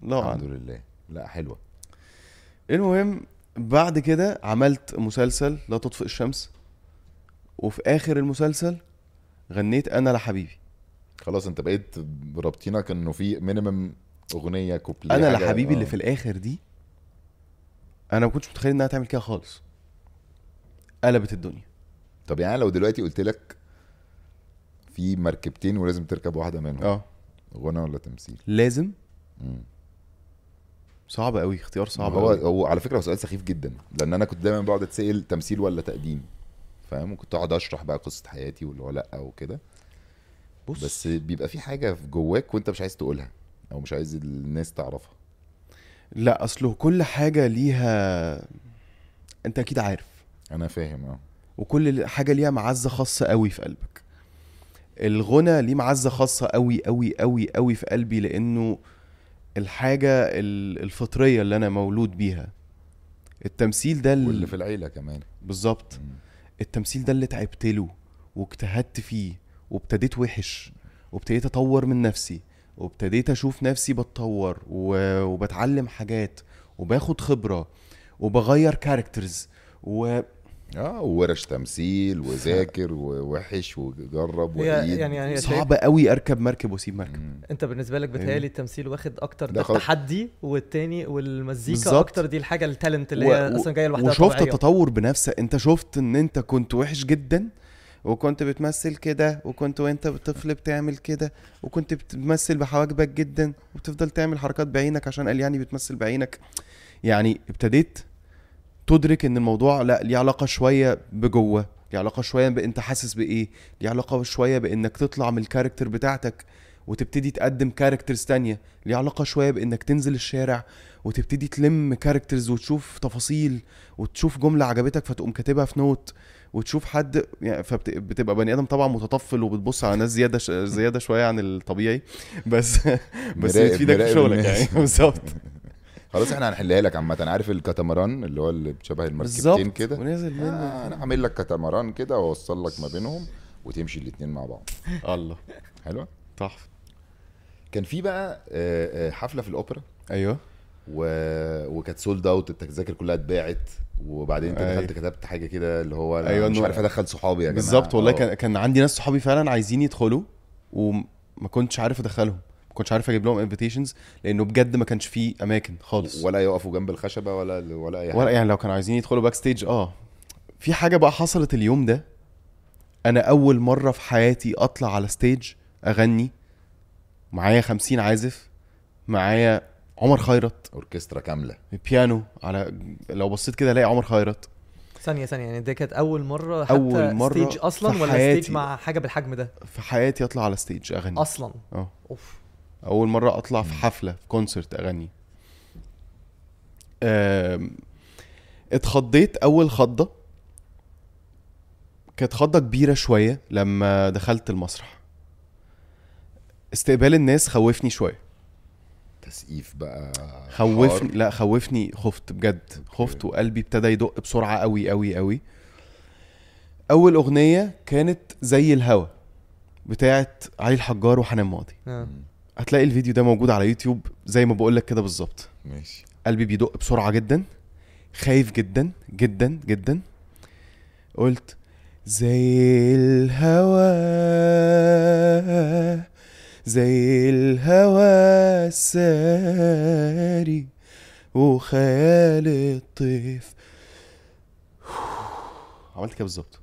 S1: الله
S2: الحمد
S1: اعلم
S2: لله لا حلوة
S1: المهم بعد كده عملت مسلسل لا تطفئ الشمس وفي اخر المسلسل غنيت انا لحبيبي
S2: خلاص انت بقيت رابطينك انه في مينيمم اغنية كوبليه
S1: انا
S2: حاجة-
S1: لحبيبي اللي
S2: آه.
S1: في الاخر دي انا ما كنتش متخيل انها تعمل كده خالص قلبت الدنيا
S2: طب يعني لو دلوقتي قلت لك في مركبتين ولازم تركب واحدة منهم
S1: اه
S2: غنى ولا تمثيل
S1: لازم
S2: مم.
S1: صعب قوي اختيار صعب
S2: هو
S1: قوي
S2: هو على فكرة هو سؤال سخيف جدا لان انا كنت دايما بقعد اتسأل تمثيل ولا تقديم فاهم وكنت اقعد اشرح بقى قصة حياتي واللي هو لا وكده
S1: بص
S2: بس بيبقى في حاجة في جواك وانت مش عايز تقولها او مش عايز الناس تعرفها
S1: لا اصله كل حاجه ليها انت اكيد عارف
S2: انا فاهم اه
S1: وكل حاجه ليها معزه خاصه قوي في قلبك الغنى ليه معزه خاصه قوي قوي قوي قوي في قلبي لانه الحاجه ال- الفطريه اللي انا مولود بيها التمثيل ده ال-
S2: واللي في العيله كمان
S1: بالظبط التمثيل ده اللي تعبت له واجتهدت فيه وابتديت وحش وابتديت اطور من نفسي وابتديت اشوف نفسي بتطور و... وبتعلم حاجات وباخد خبره وبغير كاركترز و
S2: اه وورش تمثيل وذاكر ووحش وجرب
S4: هي
S2: وعيد
S4: يعني يعني شايف
S1: صعب قوي اركب مركب واسيب مركب
S2: مم.
S4: انت بالنسبه لك بتهيألي التمثيل واخد اكتر
S2: ده
S4: ده
S2: خلاص.
S4: التحدي والتاني والمزيكا
S1: بالظبط.
S4: اكتر دي الحاجه التالنت اللي
S1: و-
S4: هي
S1: و-
S4: اصلا جايه لوحدها
S1: وشفت
S4: طبيعية.
S1: التطور بنفسك انت شفت ان انت كنت وحش جدا وكنت بتمثل كده وكنت وانت طفل بتعمل كده وكنت بتمثل بحواجبك جدا وبتفضل تعمل حركات بعينك عشان قال يعني بتمثل بعينك يعني ابتديت تدرك ان الموضوع لا ليه علاقه شويه بجوه ليه علاقه شويه بانت حاسس بايه ليه علاقه شويه بانك تطلع من الكاركتر بتاعتك وتبتدي تقدم كاركترز تانية ليه علاقة شوية بإنك تنزل الشارع وتبتدي تلم كاركترز وتشوف تفاصيل وتشوف جملة عجبتك فتقوم كاتبها في نوت وتشوف حد يعني فبتبقى بني آدم طبعا متطفل وبتبص على ناس زيادة ش... زيادة شوية عن الطبيعي بس بس
S2: مراقب-
S1: بتفيدك في
S2: مراقب
S1: شغلك
S2: الناس.
S1: يعني بالظبط
S2: خلاص احنا هنحلها لك عامه عارف الكاتاماران اللي هو اللي شبه المركبتين
S1: بالظبط
S2: كده
S1: ونازل منه
S2: آه انا عامل لك كاتاماران كده واوصل لك ما بينهم وتمشي الاثنين مع بعض
S1: الله
S2: حلوه
S1: تحفة
S2: كان في بقى آه، آه، حفله في الاوبرا
S1: ايوه
S2: و... وكانت سولد اوت التذاكر كلها اتباعت وبعدين انت
S1: أيوة.
S2: دخلت كتبت حاجه كده اللي هو
S1: أيوة،
S2: أيوة مش
S1: إنه-
S2: عارف ادخل صحابي يا جماعه
S1: بالظبط والله
S2: آه.
S1: كان كان عندي ناس صحابي فعلا عايزين يدخلوا وما كنتش عارف ادخلهم ما كنتش عارف اجيب لهم انفيتيشنز لانه بجد ما كانش فيه اماكن خالص
S2: ولا يقفوا جنب الخشبه ولا ولا اي حاجه
S1: ولا يعني لو كانوا عايزين يدخلوا باك ستيج اه في حاجه بقى حصلت اليوم ده انا اول مره في حياتي اطلع على ستيج اغني معايا خمسين عازف معايا عمر خيرت
S2: اوركسترا كامله
S1: بيانو على لو بصيت كده الاقي عمر خيرت
S4: ثانيه ثانيه يعني دي كانت اول مره حتى
S1: أول
S4: أول
S1: مرة
S4: مرة ستيج اصلا
S1: في
S4: ولا
S1: حياتي.
S4: ستيج مع حاجه بالحجم ده
S1: في حياتي اطلع على ستيج اغني
S4: اصلا
S1: اه
S4: اوف
S1: اول مره اطلع في حفله في كونسرت اغني آم، اتخضيت اول خضه كانت خضه كبيره شويه لما دخلت المسرح استقبال الناس خوفني شويه
S2: تسقيف بقى
S1: خوفني
S2: حار.
S1: لا خوفني خفت بجد خفت وقلبي ابتدى يدق بسرعه قوي قوي قوي اول اغنيه كانت زي الهوا بتاعت علي الحجار وحنان ماضي
S4: آه.
S1: هتلاقي الفيديو ده موجود على يوتيوب زي ما بقولك كده بالظبط
S2: ماشي
S1: قلبي بيدق بسرعه جدا خايف جدا جدا جدا قلت زي الهوى زي الهوى الساري وخيال الطيف عملت كده بالظبط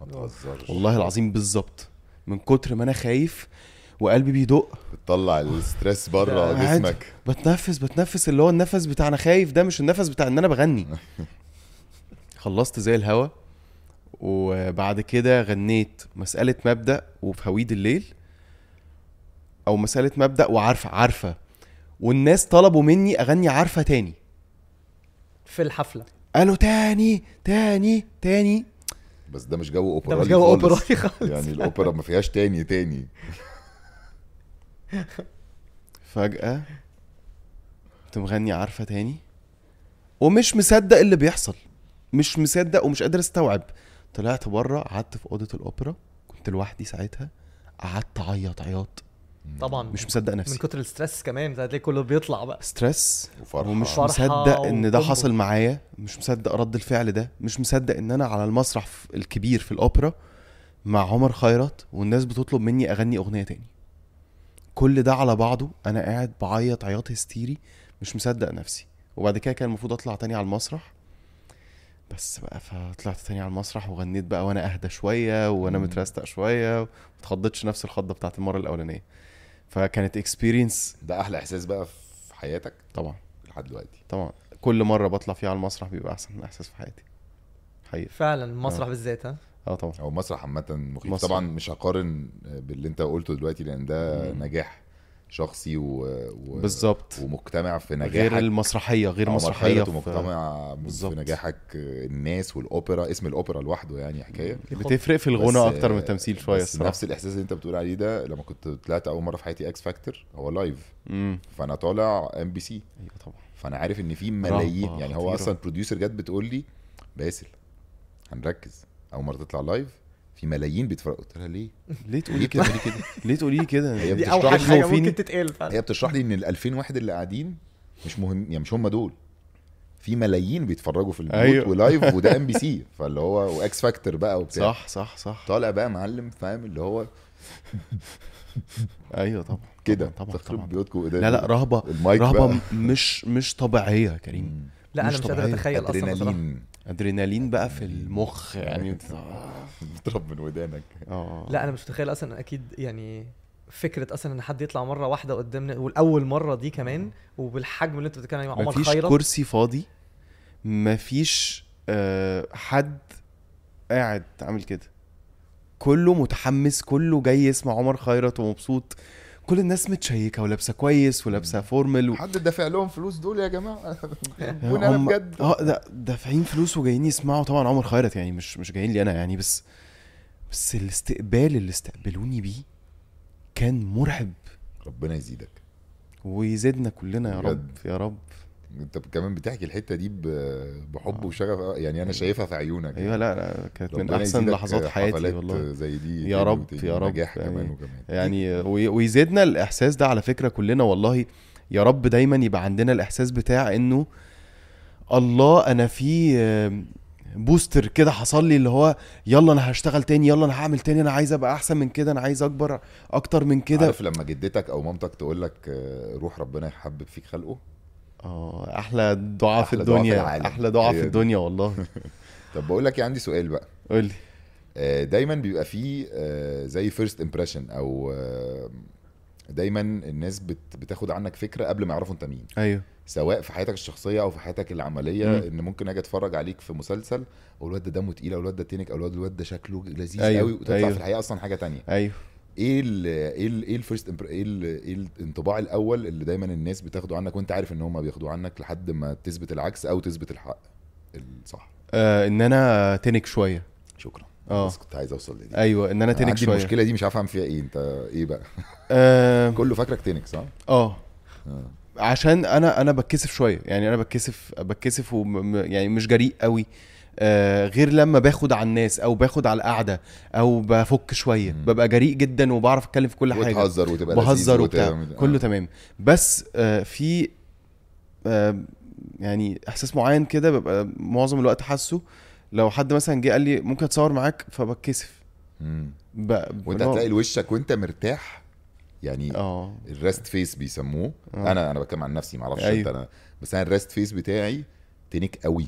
S2: ما تهزرش
S1: والله العظيم بالظبط من كتر ما انا خايف وقلبي بيدق
S2: بتطلع الستريس بره
S1: ده عادي.
S2: جسمك
S1: بتنفس بتنفس اللي هو النفس بتاع انا خايف ده مش النفس بتاع ان انا بغني خلصت زي الهوا وبعد كده غنيت مسألة مبدأ وفي هويد الليل أو مسألة مبدأ وعارفة عارفة والناس طلبوا مني أغني عارفة تاني
S4: في الحفله
S1: قالوا تاني تاني تاني
S2: بس ده مش جو اوبرا
S4: ده مش جو اوبرا خالص
S2: يعني الاوبرا ما فيهاش تاني تاني
S1: فجأة كنت مغني عارفة تاني ومش مصدق اللي بيحصل مش مصدق ومش قادر استوعب طلعت بره قعدت في أوضة الأوبرا كنت لوحدي ساعتها قعدت أعيط عياط
S4: طبعا
S1: مش مصدق
S4: من
S1: نفسي
S4: كتر الستريس كمان هتلاقي كله بيطلع بقى
S1: ستريس
S2: وفرحه
S1: ومش
S4: فرحة
S1: مصدق ان ده
S4: وكومبو.
S1: حصل معايا مش مصدق رد الفعل ده مش مصدق ان انا على المسرح في- الكبير في الاوبرا مع عمر خيرت والناس بتطلب مني اغني اغنيه تاني كل ده على بعضه انا قاعد بعيط عياط هستيري مش مصدق نفسي وبعد كده كان المفروض اطلع تاني على المسرح بس بقى فطلعت تاني على المسرح وغنيت بقى وانا اهدى شويه وانا
S2: مم.
S1: مترستق شويه وما اتخضتش نفس الخضه بتاعت المره الاولانيه فكانت اكسبيرينس
S2: ده احلى احساس بقى في حياتك
S1: طبعا
S2: لحد دلوقتي
S1: طبعا كل مره بطلع فيها على المسرح بيبقى احسن احساس في حياتي حقيقي
S4: فعلا المسرح بالذات ها
S1: اه طبعا
S2: او مسرح عامه مخيف
S1: مسرح.
S2: طبعا مش هقارن باللي انت قلته دلوقتي لان ده
S1: مم.
S2: نجاح شخصي و... و...
S1: بالظبط
S2: ومجتمع في نجاحك
S1: غير المسرحيه غير
S2: عمر
S1: مسرحيه
S2: خيرت ومجتمع
S1: بالظبط.
S2: في نجاحك آه، الناس والاوبرا اسم الاوبرا لوحده يعني حكايه
S1: بتفرق في الغنى
S2: بس- آه،
S1: اكتر من التمثيل شويه
S2: بس
S1: الصراحه
S2: نفس الاحساس اللي انت بتقول عليه ده لما كنت طلعت اول مره في حياتي اكس فاكتور هو لايف
S1: امم
S2: فانا طالع ام بي سي
S1: ايوه طبعا
S2: فانا عارف ان في ملايين
S1: رهبة
S2: يعني هو
S1: خطيرة.
S2: اصلا بروديوسر جت بتقول لي باسل هنركز اول مره تطلع لايف في ملايين بيتفرجوا قلت لها ليه؟
S1: ليه تقولي
S2: ليه
S1: كده
S2: بتعملي كده؟
S1: ليه تقولي
S2: هي
S1: كده
S4: دي
S2: بتشرح
S4: اوحش
S2: لي
S4: حاجه
S1: وفيني.
S4: ممكن تتقال فعلا
S2: هي بتشرح لي ان ال 2000 واحد اللي قاعدين مش مهم يعني مش هم دول في ملايين بيتفرجوا في البيوت
S1: أيوة.
S2: أيوة. ولايف وده ام بي سي فاللي هو واكس فاكتور بقى وبتاع
S1: صح صح صح
S2: طالع بقى معلم فاهم اللي هو
S1: ايوه طبعا
S2: كده
S1: طبعا
S2: تخرب
S1: طبعا
S2: بيوتكم
S1: لا لا رهبه
S2: المايك بقى.
S1: رهبه مش مش طبيعيه يا كريم
S4: لا انا
S1: مش
S4: مش قادر
S1: طبيعية.
S4: اتخيل اصلا بصراحه
S2: ادرينالين
S1: ادرينالين بقى في المخ يعني
S2: أيوة. بيضرب من ودانك
S1: اه
S4: لا انا مش متخيل اصلا اكيد يعني فكره اصلا ان حد يطلع مره واحده قدامنا والاول مره دي كمان وبالحجم اللي انت بتتكلم عليه عمر
S1: مفيش
S4: خيرت
S1: كرسي فاضي مفيش آه، حد قاعد عامل كده كله متحمس كله جاي يسمع عمر خيرت ومبسوط كل الناس متشيكه ولابسه كويس ولابسه فورمال و...
S2: حد دافع لهم فلوس دول يا جماعه
S1: هم-
S2: بيحبوني انا بجد
S1: اه ده دافعين فلوس وجايين يسمعوا طبعا عمر خيرت يعني مش مش جايين لي انا يعني بس بس الاستقبال اللي استقبلوني بيه كان مرعب
S2: ربنا يزيدك
S1: ويزيدنا كلنا يا رب
S2: بجد.
S1: يا رب
S2: انت كمان بتحكي الحته دي ب- بحب وشغف آه، يعني انا شايفها في عيونك
S1: ايوه أيوة. لا لا كانت من
S2: ربنا
S1: احسن
S2: يزيدك
S1: لحظات حياتي
S2: حفلات
S1: والله
S2: زي دي
S1: يا
S2: تاني
S1: رب،
S2: وتاني،
S1: يا رب،
S2: نجاح
S1: يعني-
S2: كمان وكمان
S1: يعني وي- ويزيدنا الاحساس ده على فكره كلنا والله يا رب دايما يبقى عندنا الاحساس بتاع انه الله انا في آم، بوستر كده حصل لي اللي هو يلا انا هشتغل تاني يلا انا هعمل تاني انا عايز ابقى احسن من كده انا عايز اكبر اكتر من كده
S2: عارف لما جدتك او مامتك تقول لك آه، روح ربنا يحبب فيك خلقه
S1: اه احلى دعاء في
S2: أحلى دعاء في
S1: الدنيا
S2: العالم. أيوة.
S1: احلى دعاء
S2: هي
S1: في
S2: دي.
S1: الدنيا والله
S2: طب بقول لك إيه، عندي سؤال بقى
S1: قول لي
S2: آه، دايما بيبقى فيه آه، زي فيرست امبريشن او آه، دايما الناس بت- بتاخد عنك فكره قبل ما يعرفوا انت مين
S1: ايوه
S2: سواء في حياتك الشخصيه او في حياتك العمليه
S1: مم.
S2: م. ان ممكن اجي اتفرج عليك في مسلسل او الواد ده دمه تقيل او الواد ده تنك او الواد الواد ده شكله لذيذ
S1: أيوه،
S2: أيوه. قوي وتطلع
S1: أيوه.
S2: أيوه. في الحقيقه اصلا حاجه تانية
S1: ايوه
S2: ايه ال ايه ال ايه الفيرست امبر... ايه ال ايه الانطباع الاول اللي دايما الناس بتاخده عنك وانت عارف ان هم بياخدوه عنك لحد ما تثبت العكس او تثبت الحق الصح
S1: آه ان انا تنك شويه
S2: شكرا
S1: آه.
S2: بس كنت عايز اوصل لدي
S1: ايوه ان انا تنك
S2: عندي
S1: شويه
S2: المشكله دي مش عارف اعمل فيها ايه انت ايه بقى
S1: آه
S2: كله فاكرك تنك صح
S1: اه
S2: آه.
S1: عشان انا انا بتكسف شويه يعني انا بتكسف بتكسف وم م- يعني مش جريء قوي آه غير لما باخد على الناس او باخد على القعده او بفك شويه
S2: مم.
S1: ببقى جريء جدا وبعرف اتكلم في كل حاجه
S2: وتهزر وتبقى لذيذ
S1: بهزر وبتاع
S2: وتعمل- آه.
S1: كله تمام بس آه، في آه، يعني احساس معين كده ببقى معظم الوقت حاسه لو حد مثلا جه قال لي ممكن اتصور معاك فبتكسف
S2: مم.
S1: ب...
S2: وانت
S1: اللي هو-
S2: هتلاقي وشك وانت مرتاح يعني
S1: اه
S2: الريست فيس بيسموه
S1: آه.
S2: انا انا بتكلم عن نفسي معرفش
S1: أيوه.
S2: انت انا بس انا الريست فيس بتاعي تنك قوي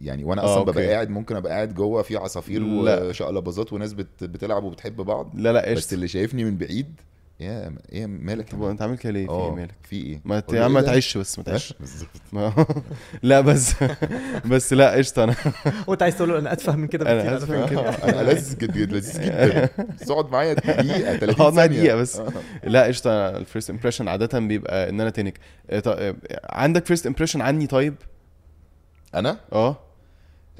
S2: يعني وانا
S1: آه،
S2: اصلا
S1: أوكي.
S2: ببقى قاعد ممكن ابقى قاعد جوه في عصافير
S1: لا.
S2: وشقلباظات وناس بت... بتلعب وبتحب بعض
S1: لا لا
S2: بس
S1: ايش
S2: اللي شايفني من بعيد يا ايه مالك
S1: طب انت عامل كده ليه في
S2: آه،
S1: إيه مالك
S2: في ايه
S1: ما
S2: قول
S1: ت...
S2: له
S1: يا عم
S2: إيه
S1: ما
S2: ده؟
S1: تعيش بس ما تعيش
S2: بالظبط
S1: ما... لا بس بس لا قشطه انا
S4: وانت عايز تقول له انا اتفه من كده
S1: أنا
S4: بكتير على
S1: أسفه
S4: فكرة.
S1: من كده. يعني.
S2: انا لذيذ جدا لذيذ جدا بس اقعد معايا دقيقه 30
S1: اقعد معايا اه،
S2: ثانية.
S1: دقيقة بس.
S2: آه.
S1: لا قشطه أنا الفيرست امبريشن عاده بيبقى ان انا تنك آه، طب، آه، عندك فيرست امبريشن عني طيب
S2: انا
S1: اه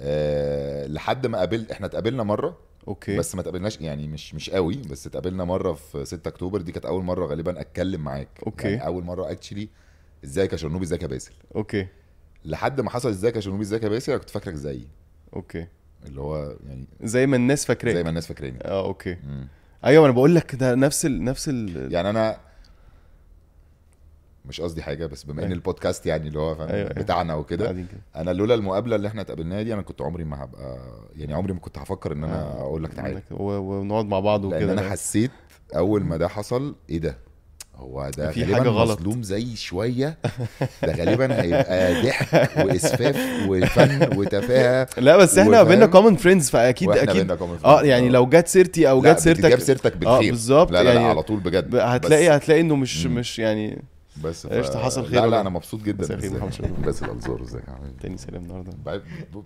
S2: آه لحد ما قابلت احنا اتقابلنا مره
S1: اوكي
S2: بس ما تقابلناش يعني مش مش قوي بس اتقابلنا مره في 6 اكتوبر دي كانت اول مره غالبا اتكلم معاك
S1: أوكي.
S2: يعني اول مره اكشلي ازيك يا شرنوبي ازيك يا باسل
S1: اوكي
S2: لحد ما حصل ازيك يا شرنوبي ازيك يا باسل انا كنت فاكرك زيي
S1: اوكي
S2: اللي هو يعني
S1: زي ما الناس
S2: زي
S1: فاكراك
S2: ما الناس فاكراني
S1: اه اوكي
S2: مم.
S1: ايوه انا بقول لك ده نفس ال... نفس ال...
S2: يعني انا مش قصدي حاجه بس بما ان
S1: أيوة.
S2: البودكاست يعني اللي هو فاهم
S1: أيوة، أيوة.
S2: بتاعنا وكده
S1: قاعدين كده.
S2: انا لولا المقابله اللي احنا اتقابلناها دي انا كنت عمري ما هبقى يعني عمري ما كنت هفكر ان انا
S1: آه.
S2: اقول لك تعالى
S1: و- ونقعد مع بعض وكده
S2: لان انا
S1: ده.
S2: حسيت اول ما ده حصل ايه ده هو ده
S1: في
S2: غالباً
S1: حاجة غلط.
S2: مظلوم زي شويه ده غالبا هيبقى ضحك واسفاف وفن وتفاهه
S1: لا بس احنا
S2: وفاهم.
S1: بينا كومن فريندز فاكيد
S2: وإحنا
S1: اكيد
S2: بينا common
S1: اه
S2: friends.
S1: يعني
S2: آه.
S1: لو جت سيرتي او
S2: لا،
S1: جت سيرتك
S2: بتجاب سيرتك
S1: آه،
S2: بالخير
S1: بالظبط،
S2: لا لا,
S1: يعني
S2: لا على طول بجد
S1: ب- هتلاقي
S2: بس,
S1: هتلاقي انه مش
S2: مم.
S1: مش يعني
S2: بس ف...
S1: قشطة، حصل خير
S2: لا
S1: والله.
S2: لا انا مبسوط
S1: مساء
S2: جدا
S1: الخير، محمد
S2: ازيك؟
S1: شرف.
S2: بس الانظار ازيك يا حبيبي؟
S1: تاني سلام النهارده
S2: بعد-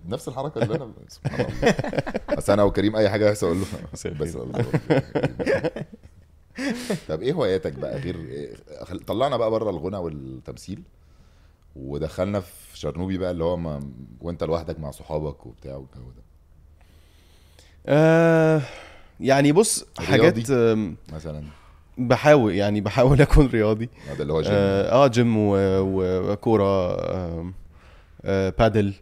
S2: نفس الحركه اللي انا سبحان الله بس انا وكريم اي حاجه هيحصل اقول له
S1: مساء الخير.
S2: بس الله طب ايه هواياتك بقى غير طلعنا بقى بره الغنى والتمثيل ودخلنا في شرنوبي بقى اللي هو ما... وانت لوحدك مع صحابك وبتاع والجو ده
S1: آه يعني بص حاجات
S2: رياضي.
S1: آم،
S2: مثلا
S1: بحاول يعني بحاول اكون رياضي
S2: هذا اللي هو جيم
S1: اه آه، جيم و- و- وكوره آم، آه بادل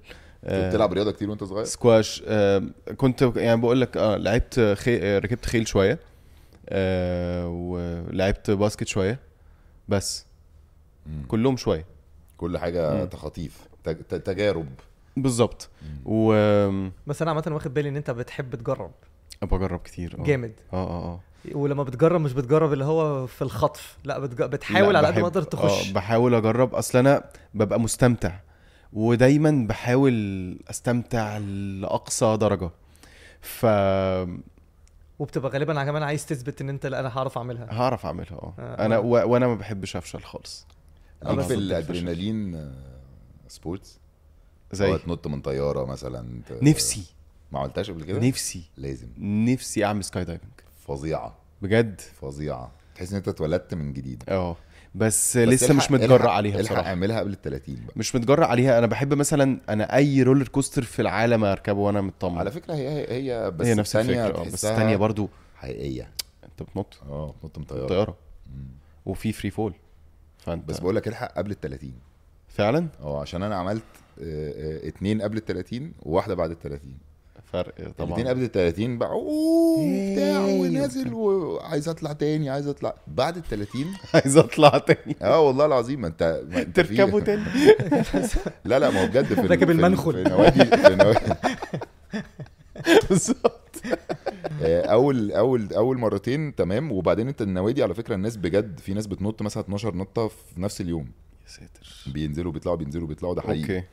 S2: كنت
S1: آه،
S2: بتلعب رياضه كتير وانت صغير
S1: سكواش آه كنت يعني بقول لك اه لعبت خي... آه، ركبت خيل شويه آه ولعبت باسكت شويه بس
S2: مم.
S1: كلهم شويه
S2: كل حاجه
S1: مم.
S2: تخاطيف تج... ت- تجارب
S1: بالظبط و آم،
S4: بس انا عامه واخد بالي ان انت بتحب تجرب
S1: بجرب كتير آه.
S4: جامد
S1: اه اه اه
S4: ولما بتجرب مش بتجرب اللي هو في الخطف لا بتج... بتحاول
S1: لا،
S4: على قد ما
S1: بحب-
S4: تقدر تخش
S1: اه بحاول اجرب اصل انا ببقى مستمتع ودايما بحاول استمتع لاقصى درجه ف
S4: وبتبقى غالبا كمان عايز تثبت ان انت لا انا هعرف اعملها
S1: هعرف اعملها اه
S4: آه،
S1: انا
S4: آه.
S1: و... وانا ما بحبش افشل خالص
S2: ليك
S1: أنا
S2: في
S1: ضد الفشل.
S2: الادرينالين آه، سبورتس
S1: زي
S2: أو تنط من طياره مثلا ت-
S1: نفسي
S2: ما عملتهاش قبل كده
S1: نفسي
S2: لازم
S1: نفسي اعمل سكاي دايفنج
S2: فظيعه
S1: بجد
S2: فظيعه تحس ان انت اتولدت من جديد
S1: اه بس,
S2: بس
S1: لسه مش
S2: الحق- الحق-
S1: متجرأ عليها
S2: الحق
S1: بصراحه
S2: اعملها قبل ال 30 بقى
S1: مش متجرأ عليها انا بحب مثلا انا اي رولر كوستر في العالم اركبه وانا مطمن
S2: على فكره هي هي هي بس
S1: هي نفس
S2: الثانيه
S1: الفكره اه بس الثانيه برضو
S2: حقيقيه
S1: انت بتنط
S2: اه نط من طياره
S1: طياره وفي فري فول فانت
S2: بس بقول لك الحق قبل ال 30
S1: فعلا
S2: اه عشان انا عملت آه، آه، اتنين قبل ال 30 وواحده بعد ال 30
S1: فرق طبعا
S2: الاثنين قبل ال 30 بقى اوه بتاع ونازل وعايز اطلع تاني عايز اطلع بعد ال 30
S1: عايز اطلع تاني
S2: اه والله العظيم ما انت ما انت في-
S1: تركبه تاني
S2: لا لا ما هو بجد في ال-
S4: راكب
S2: في ال-
S4: المنخل.
S2: في نوادي في نوادي
S1: بالظبط
S2: آه، اول اول اول مرتين تمام وبعدين انت النوادي على فكره الناس بجد في ناس بتنط مثلا 12 نطه في نفس اليوم
S1: يا ساتر
S2: بينزلوا بيطلعوا بينزلوا بيطلعوا ده حقيقي
S1: اوكي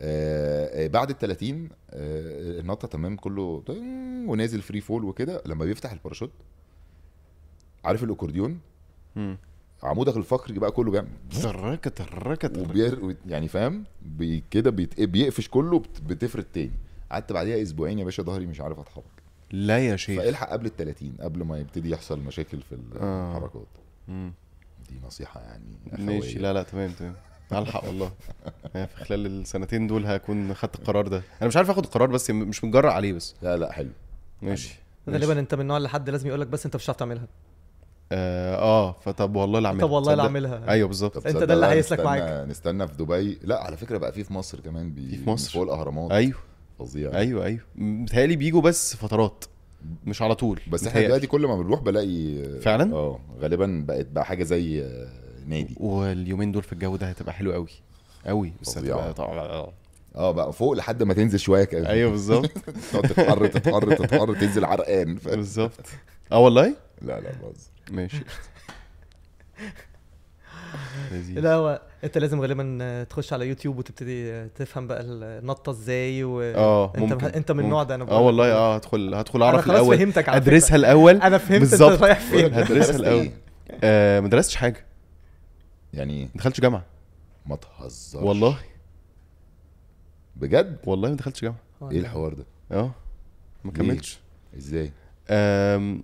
S2: آه آه، بعد ال 30 آه النطه تمام كله تن- ونازل فري فول وكده لما بيفتح الباراشوت عارف الاكورديون
S1: مم.
S2: عمودك الفقري بقى كله جنب
S1: تركة تركة تركة.
S2: وبير يعني فاهم بي كده بيت- بيقفش كله بت- بتفرد تاني قعدت بعديها اسبوعين يا باشا ظهري مش عارف اتحرك
S1: لا يا شيخ
S2: فالحق قبل ال 30 قبل ما يبتدي يحصل مشاكل في
S1: آه.
S2: الحركات
S1: مم.
S2: دي نصيحه يعني
S1: ماشي
S2: أخوية.
S1: لا لا تمام تمام هلحق والله يعني في خلال السنتين دول هكون خدت القرار ده انا مش عارف اخد القرار بس م- مش متجرأ عليه بس
S2: لا لا حلو
S1: ماشي ماشي.
S4: غالبا انت من النوع اللي حد لازم يقول لك بس انت مش هتعرف تعملها
S1: اه آه، فطب والله لا اعملها
S4: طب والله لا
S1: تصدق؟
S4: اعملها
S1: ايوه بالظبط
S2: طب
S4: انت
S2: تصدق
S4: ده اللي
S2: بقى
S4: هيسلك
S2: نستنى-
S4: معاك.
S2: نستنى في دبي لا على فكره بقى في في مصر كمان بي...
S1: في في مصر.
S2: فوق الاهرامات
S1: ايوه
S2: فظيع
S1: ايوه ايوه متهيألي بيجوا بس فترات مش على طول
S2: بس احنا
S1: متهيألي. أيوه.
S2: دلوقتي كل ما بنروح بلاقي
S1: فعلا
S2: اه غالبا بقت بقى حاجه زي آه، نادي
S1: واليومين دول في الجو ده هتبقى حلو قوي قوي بس
S2: فظيعة.
S1: هتبقى طبعا
S2: اه بقى فوق لحد ما تنزل شويه كده
S1: ايوه بالظبط
S2: تقعد تتحر تتحر تتحر تنزل عرقان ف...
S1: بالظبط اه والله
S2: لا لا بهزر
S1: ماشي لذيذ.
S4: لا هو انت لازم غالبا آه، تخش على يوتيوب وتبتدي آه، تفهم بقى النطه ازاي و
S1: اه
S4: انت
S1: ممكن
S4: انت من النوع ده انا بقول
S1: اه
S4: لك.
S1: والله اه هدخل هدخل اعرف
S4: انا خلاص
S1: الاول
S4: فهمتك على فكرة.
S1: ادرسها الاول
S4: انا فهمت انت
S1: بالظبط.
S4: رايح فين
S1: هدرسها
S2: درست
S1: الاول
S2: إيه؟
S1: آه ما درستش حاجه
S2: يعني ايه
S1: ما دخلتش جامعه
S2: ما تهزرش
S1: والله
S2: بجد
S1: والله ما دخلتش جامعه
S2: ايه
S4: إيه.
S2: الحوار ده
S1: اه ما
S2: ليه؟
S1: كملتش
S2: ازاي
S1: آم،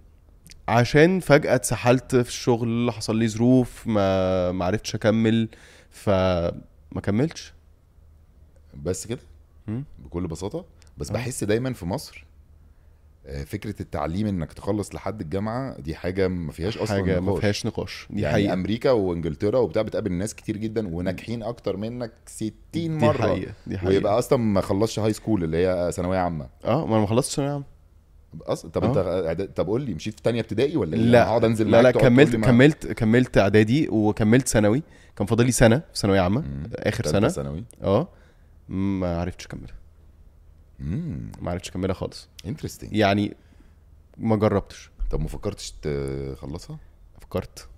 S1: عشان فجأة اتسحلت في الشغل حصل لي ظروف ما ما عرفتش اكمل فما كملتش
S2: بس كده
S1: مم.
S2: بكل بساطه بس
S1: آه.
S2: بحس دايما في مصر آه، فكره التعليم انك تخلص لحد الجامعه دي حاجه ما فيهاش اصلا
S1: حاجة ما
S2: نقاش.
S1: فيهاش نقاش دي
S2: يعني
S1: حقيقة
S2: امريكا وانجلترا وبتاع بتقابل ناس كتير جدا وناجحين اكتر منك 60 مره
S1: دي حقيقة دي حقيقة
S2: ويبقى اصلا ما خلصش هاي سكول اللي هي ثانويه عامه
S1: اه ما انا ما خلصتش ثانوية عامة
S2: اصلا طب
S1: آه.
S2: انت طب قول لي مشيت في تانية ابتدائي ولا إيه؟ أنا هقعد
S1: لا لا
S2: انزل
S1: لا
S2: معاك تقعد
S1: كملت
S2: تقول لي ما-
S1: كملت كملت اعدادي وكملت ثانوي كان فاضل لي سنة في ثانوية عامة
S2: مم.
S1: اخر
S2: تالتة
S1: سنة
S2: ثانوي
S1: اه ما عرفتش اكملها
S2: امم
S1: ما عرفتش اكملها خالص
S2: انترستنج
S1: يعني ما جربتش
S2: طب ما فكرتش تخلصها
S1: فكرت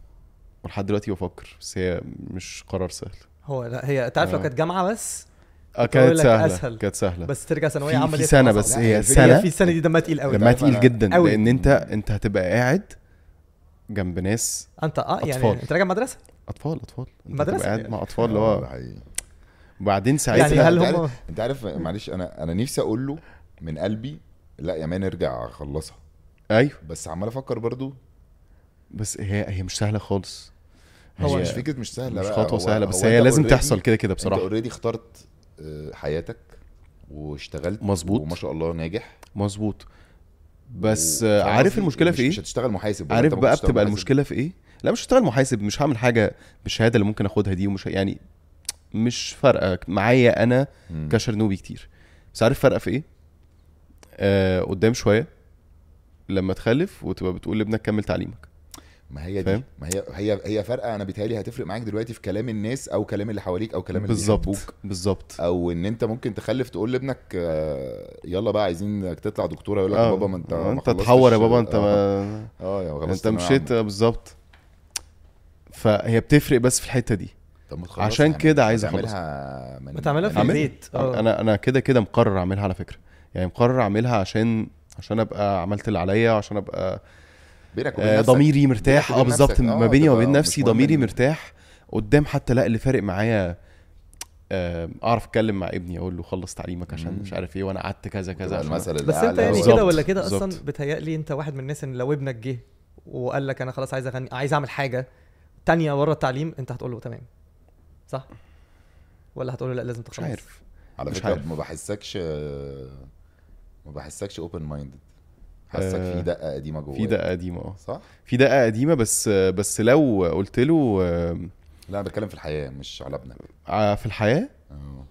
S1: ولحد دلوقتي بفكر بس هي مش قرار سهل
S4: هو لا هي انت عارف لو
S1: آه.
S4: كانت جامعه بس
S1: اه
S4: أقول
S1: كانت
S4: لك
S1: سهلة
S4: أسهل.
S1: كانت سهلة
S4: بس ترجع ثانويه
S1: في-
S4: عامه
S1: في
S4: دي
S1: سنة
S4: هتبقى
S1: بس
S4: صعبة.
S1: هي
S4: هي
S1: سنة.
S4: في السنه دي دمها تقيل قوي
S1: دمها
S2: تعرف
S1: تقيل
S2: أنا-
S1: جدا
S4: أوي.
S1: لان انت انت هتبقى قاعد جنب ناس
S4: انت اه يعني
S1: أطفال.
S4: انت راجع مدرسه
S1: اطفال اطفال انت
S4: مدرسة
S1: هتبقى قاعد
S4: يعني.
S1: مع اطفال اللي
S2: آه،
S1: هو
S2: ده حقيقي.
S1: وبعدين
S4: يعني
S1: ساعتها
S4: هل
S2: أنت
S4: هم
S2: انت عارف معلش انا انا نفسي اقول له من قلبي لا يا مان ارجع خلصها
S1: ايوه
S2: بس عمال افكر برضو
S1: بس هي هي مش سهله خالص
S2: هو
S1: هي
S2: مش فكره مش سهله
S1: مش
S2: بقى،
S1: خطوه
S2: هو-
S1: سهله بس
S2: هو
S1: هي
S2: أنت
S1: لازم
S2: already-
S1: تحصل كده كده
S2: انت
S1: بصراحه
S2: اوريدي اخترت آه، حياتك واشتغلت
S1: مظبوط.
S2: وما شاء الله ناجح
S1: مظبوط بس
S2: و-
S1: آه،
S2: فاهم
S1: عارف
S2: قصدي؟
S1: المشكله
S2: مش-
S1: في ايه
S2: مش هتشتغل محاسب ولا
S1: عارف
S2: أنت
S1: بقى
S2: ممكن تشتغل
S1: بتبقى
S2: محاسب.
S1: المشكله في ايه لا مش هشتغل محاسب مش هعمل حاجه بالشهاده اللي ممكن اخدها دي ومش يعني مش فارقه معايا انا
S2: مم.
S1: كشرنوبي كتير بس عارف فرقه في ايه آه قدام شويه لما تخلف وتبقى بتقول لابنك كمل تعليمك
S2: ما هي دي
S1: فاهم؟
S2: ما هي هي هي فارقه انا بيتهيألي هتفرق معاك دلوقتي في كلام الناس او كلام اللي حواليك او كلام اللي بيحبوك
S1: بالظبط بالظبط
S2: او ان انت ممكن تخلف تقول لابنك آه، يلا بقى عايزينك تطلع دكتوره يقول لك
S1: آه،
S2: بابا ما انت
S1: آه،
S2: ما
S1: انت
S2: خلصتش-
S1: تحور يا بابا انت
S2: اه,
S1: ما
S2: آه يا خلصت
S1: انت
S2: ثانوية
S1: مشيت
S2: عامة.
S1: آه، بالظبط فهي بتفرق بس في الحته دي
S2: طب ما تخلصها
S1: عشان
S2: يا عم،
S1: كده
S2: ما
S1: عايز اخلصها
S2: تعملها من-
S4: بتعملها في
S2: من-
S1: أعملها؟
S4: البيت آه.
S1: انا انا كده كده مقرر اعملها على فكره يعني مقرر اعملها عشان عشان ابقى عملت اللي عليا وعشان ابقى
S2: بينك وبين
S1: آه
S2: نفسك.
S1: ضميري مرتاح
S2: بينك
S1: اه
S2: وبين
S1: بالظبط
S2: نفسك. آه،
S1: ما بيني وما بين
S2: تبقى
S1: نفسي
S2: مش مهم
S1: ضميري
S2: إن-
S1: مرتاح قدام حتى لا اللي فارق معايا آه، اعرف اتكلم مع ابني اقول له خلص تعليمك عشان
S2: مم.
S1: مش عارف ايه وانا قعدت كذا
S2: تبقى
S1: كذا عشان-
S2: المثل
S4: بس انت
S2: الأعلى
S4: يعني
S2: هو-
S4: كده
S1: بالظبط،
S4: ولا كده
S1: بالظبط.
S4: اصلا بتهيألي انت واحد من الناس ان لو ابنك جه وقال لك انا خلاص عايز اغني عايز اعمل حاجه تانية بره التعليم انت هتقول له تمام صح ولا هتقول له لا لازم
S1: مش
S4: تخلص
S1: عارف
S2: على
S1: مش
S2: فكره
S1: عارف.
S2: ما بحسكش ما بحسكش اوبن مايندد حاسك
S1: آه،
S2: في دقه قديمه جواك
S1: في دقه قديمه اه
S2: صح
S1: في دقه قديمه بس آه، بس لو قلت له آه،
S2: لا انا بتكلم في الحياه مش على ابنك
S1: ع- في الحياه
S2: آه.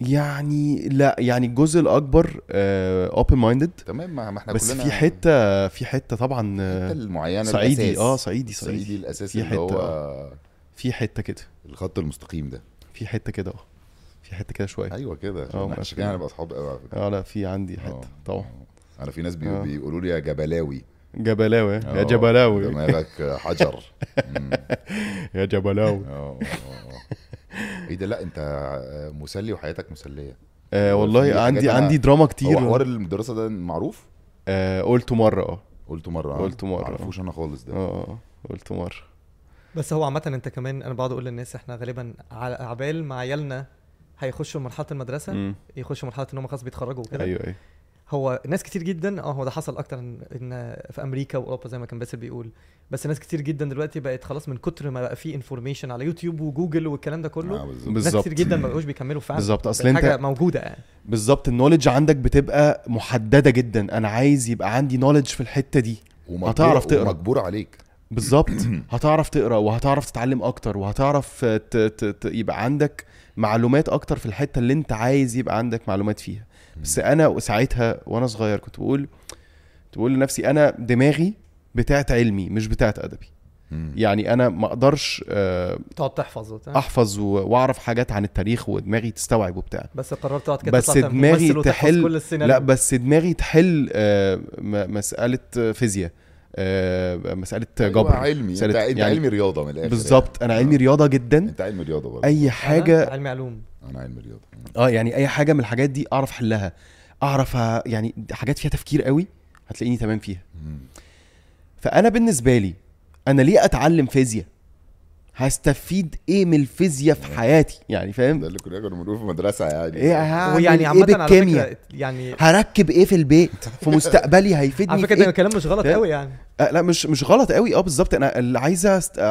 S1: يعني لا يعني الجزء آه، الاكبر اوبن مايندد
S2: تمام ما ما احنا
S1: بس
S2: كلنا
S1: في حته في حته طبعا آه،
S2: الحتة المعينه
S1: صعيدي
S2: الأساس.
S1: اه صعيدي
S2: صعيدي
S1: صعيدي
S2: الاساسي
S1: في
S2: اللي
S1: حتة،
S2: هو
S1: في حته كده
S2: الخط المستقيم ده
S1: في حته كده اه في حته كده شويه
S2: ايوه كده
S1: آه،
S2: احنا
S1: ما
S2: عشان كده هنبقى اصحاب قوي على فكره
S1: اه لا في عندي حته
S2: أيوة. آه.
S1: طبعا
S2: انا في ناس بي...
S1: آه.
S2: بيقولوا لي يا جبلاوي
S1: جبلاوي يا
S2: آه،
S1: جبلاوي
S2: دماغك حجر مم.
S1: يا جبلاوي
S2: اه آه، آه. ايه ده لا انت مسلي وحياتك مسليه
S1: آه
S2: هو في
S1: والله
S2: حاجات
S1: عندي
S2: أنا-
S1: عندي دراما كتير
S2: هو حوار الدراسه ده معروف
S1: آه قلته مره اه
S2: قلته مره آه.
S1: قلته مرة، آه.
S2: معرفوش انا خالص ده
S1: اه آه، قلته مره
S4: بس هو عامه انت كمان انا بقعد اقول للناس احنا غالبا على عبال ما عيالنا هيخشوا مرحله المدرسه
S1: مم.
S2: إيه
S4: يخشوا مرحله ان هم خلاص بيتخرجوا وكده
S1: ايوه ايوه
S4: هو ناس كتير جدا اه هو ده حصل اكتر ان إن في امريكا واوروبا زي ما كان باسل بيقول بس ناس كتير جدا دلوقتي بقت خلاص من كتر ما بقى في انفورميشن على يوتيوب وجوجل والكلام ده كله
S2: آه، بالظبط.
S4: ناس
S1: بالظبط
S4: كتير جدا ما بقوش بيكملوا فعلا
S1: بالظبط
S4: بقت
S1: اصل انت
S4: حاجه موجوده يعني
S1: بالظبط النولج عندك بتبقى محدده جدا انا عايز يبقى عندي نولج في الحته دي
S2: ومجبور-
S1: هتعرف تقرا.
S2: ومجبور عليك
S1: بالظبط هتعرف تقرا وهتعرف تتعلم اكتر وهتعرف ت... ت... ت... يبقى عندك معلومات اكتر في الحته اللي انت عايز يبقى عندك معلومات فيها بس انا ساعتها وانا صغير كنت بقول كنت بقول لنفسي انا دماغي بتاعت علمي مش بتاعت ادبي
S2: مم.
S1: يعني انا ما اقدرش آه،
S4: تقعد تحفظ وبتاع
S1: احفظ و- واعرف حاجات عن التاريخ ودماغي تستوعب وبتاع
S4: بس قررت تقعد كده
S1: بس
S4: تطلع تعمل
S1: دماغي
S4: ممثل وتحفظ
S1: تحل-
S4: كل السيناريو
S1: لا بس دماغي تحل آه، م- مساله فيزياء آه، مساله
S2: أيوة،
S1: جبر
S2: علمي انت,
S1: مسألة-
S2: انت
S1: يعني-
S2: علمي رياضه من الاخر
S1: بالظبط انا علمي رياضه
S2: يعني.
S1: جدا
S2: انت علمي رياضه برضه
S1: اي
S4: أنا
S1: حاجه
S4: علمي علوم
S2: انا علمي رياضه
S1: اه يعني اي حاجه من الحاجات دي اعرف احلها اعرف أ- يعني حاجات فيها تفكير قوي هتلاقيني تمام فيها
S2: مم.
S1: فانا بالنسبه لي انا ليه اتعلم فيزياء هستفيد ايه من الفيزياء في حياتي يعني فاهم
S2: ده اللي كنا كنا بنقول في مدرسه يعني
S1: ايه هعمل
S4: ويعني
S1: ايه
S4: عامه على
S1: بالكيمياء
S4: فكره يعني
S1: هركب ايه في البيت في مستقبلي هيفيدني
S4: على
S1: في
S4: فكره
S1: إيه؟
S4: ده كلام مش غلط
S1: ده-
S4: قوي يعني
S1: آه، لا مش مش غلط قوي اه بالظبط انا اللي عايزه است... آه،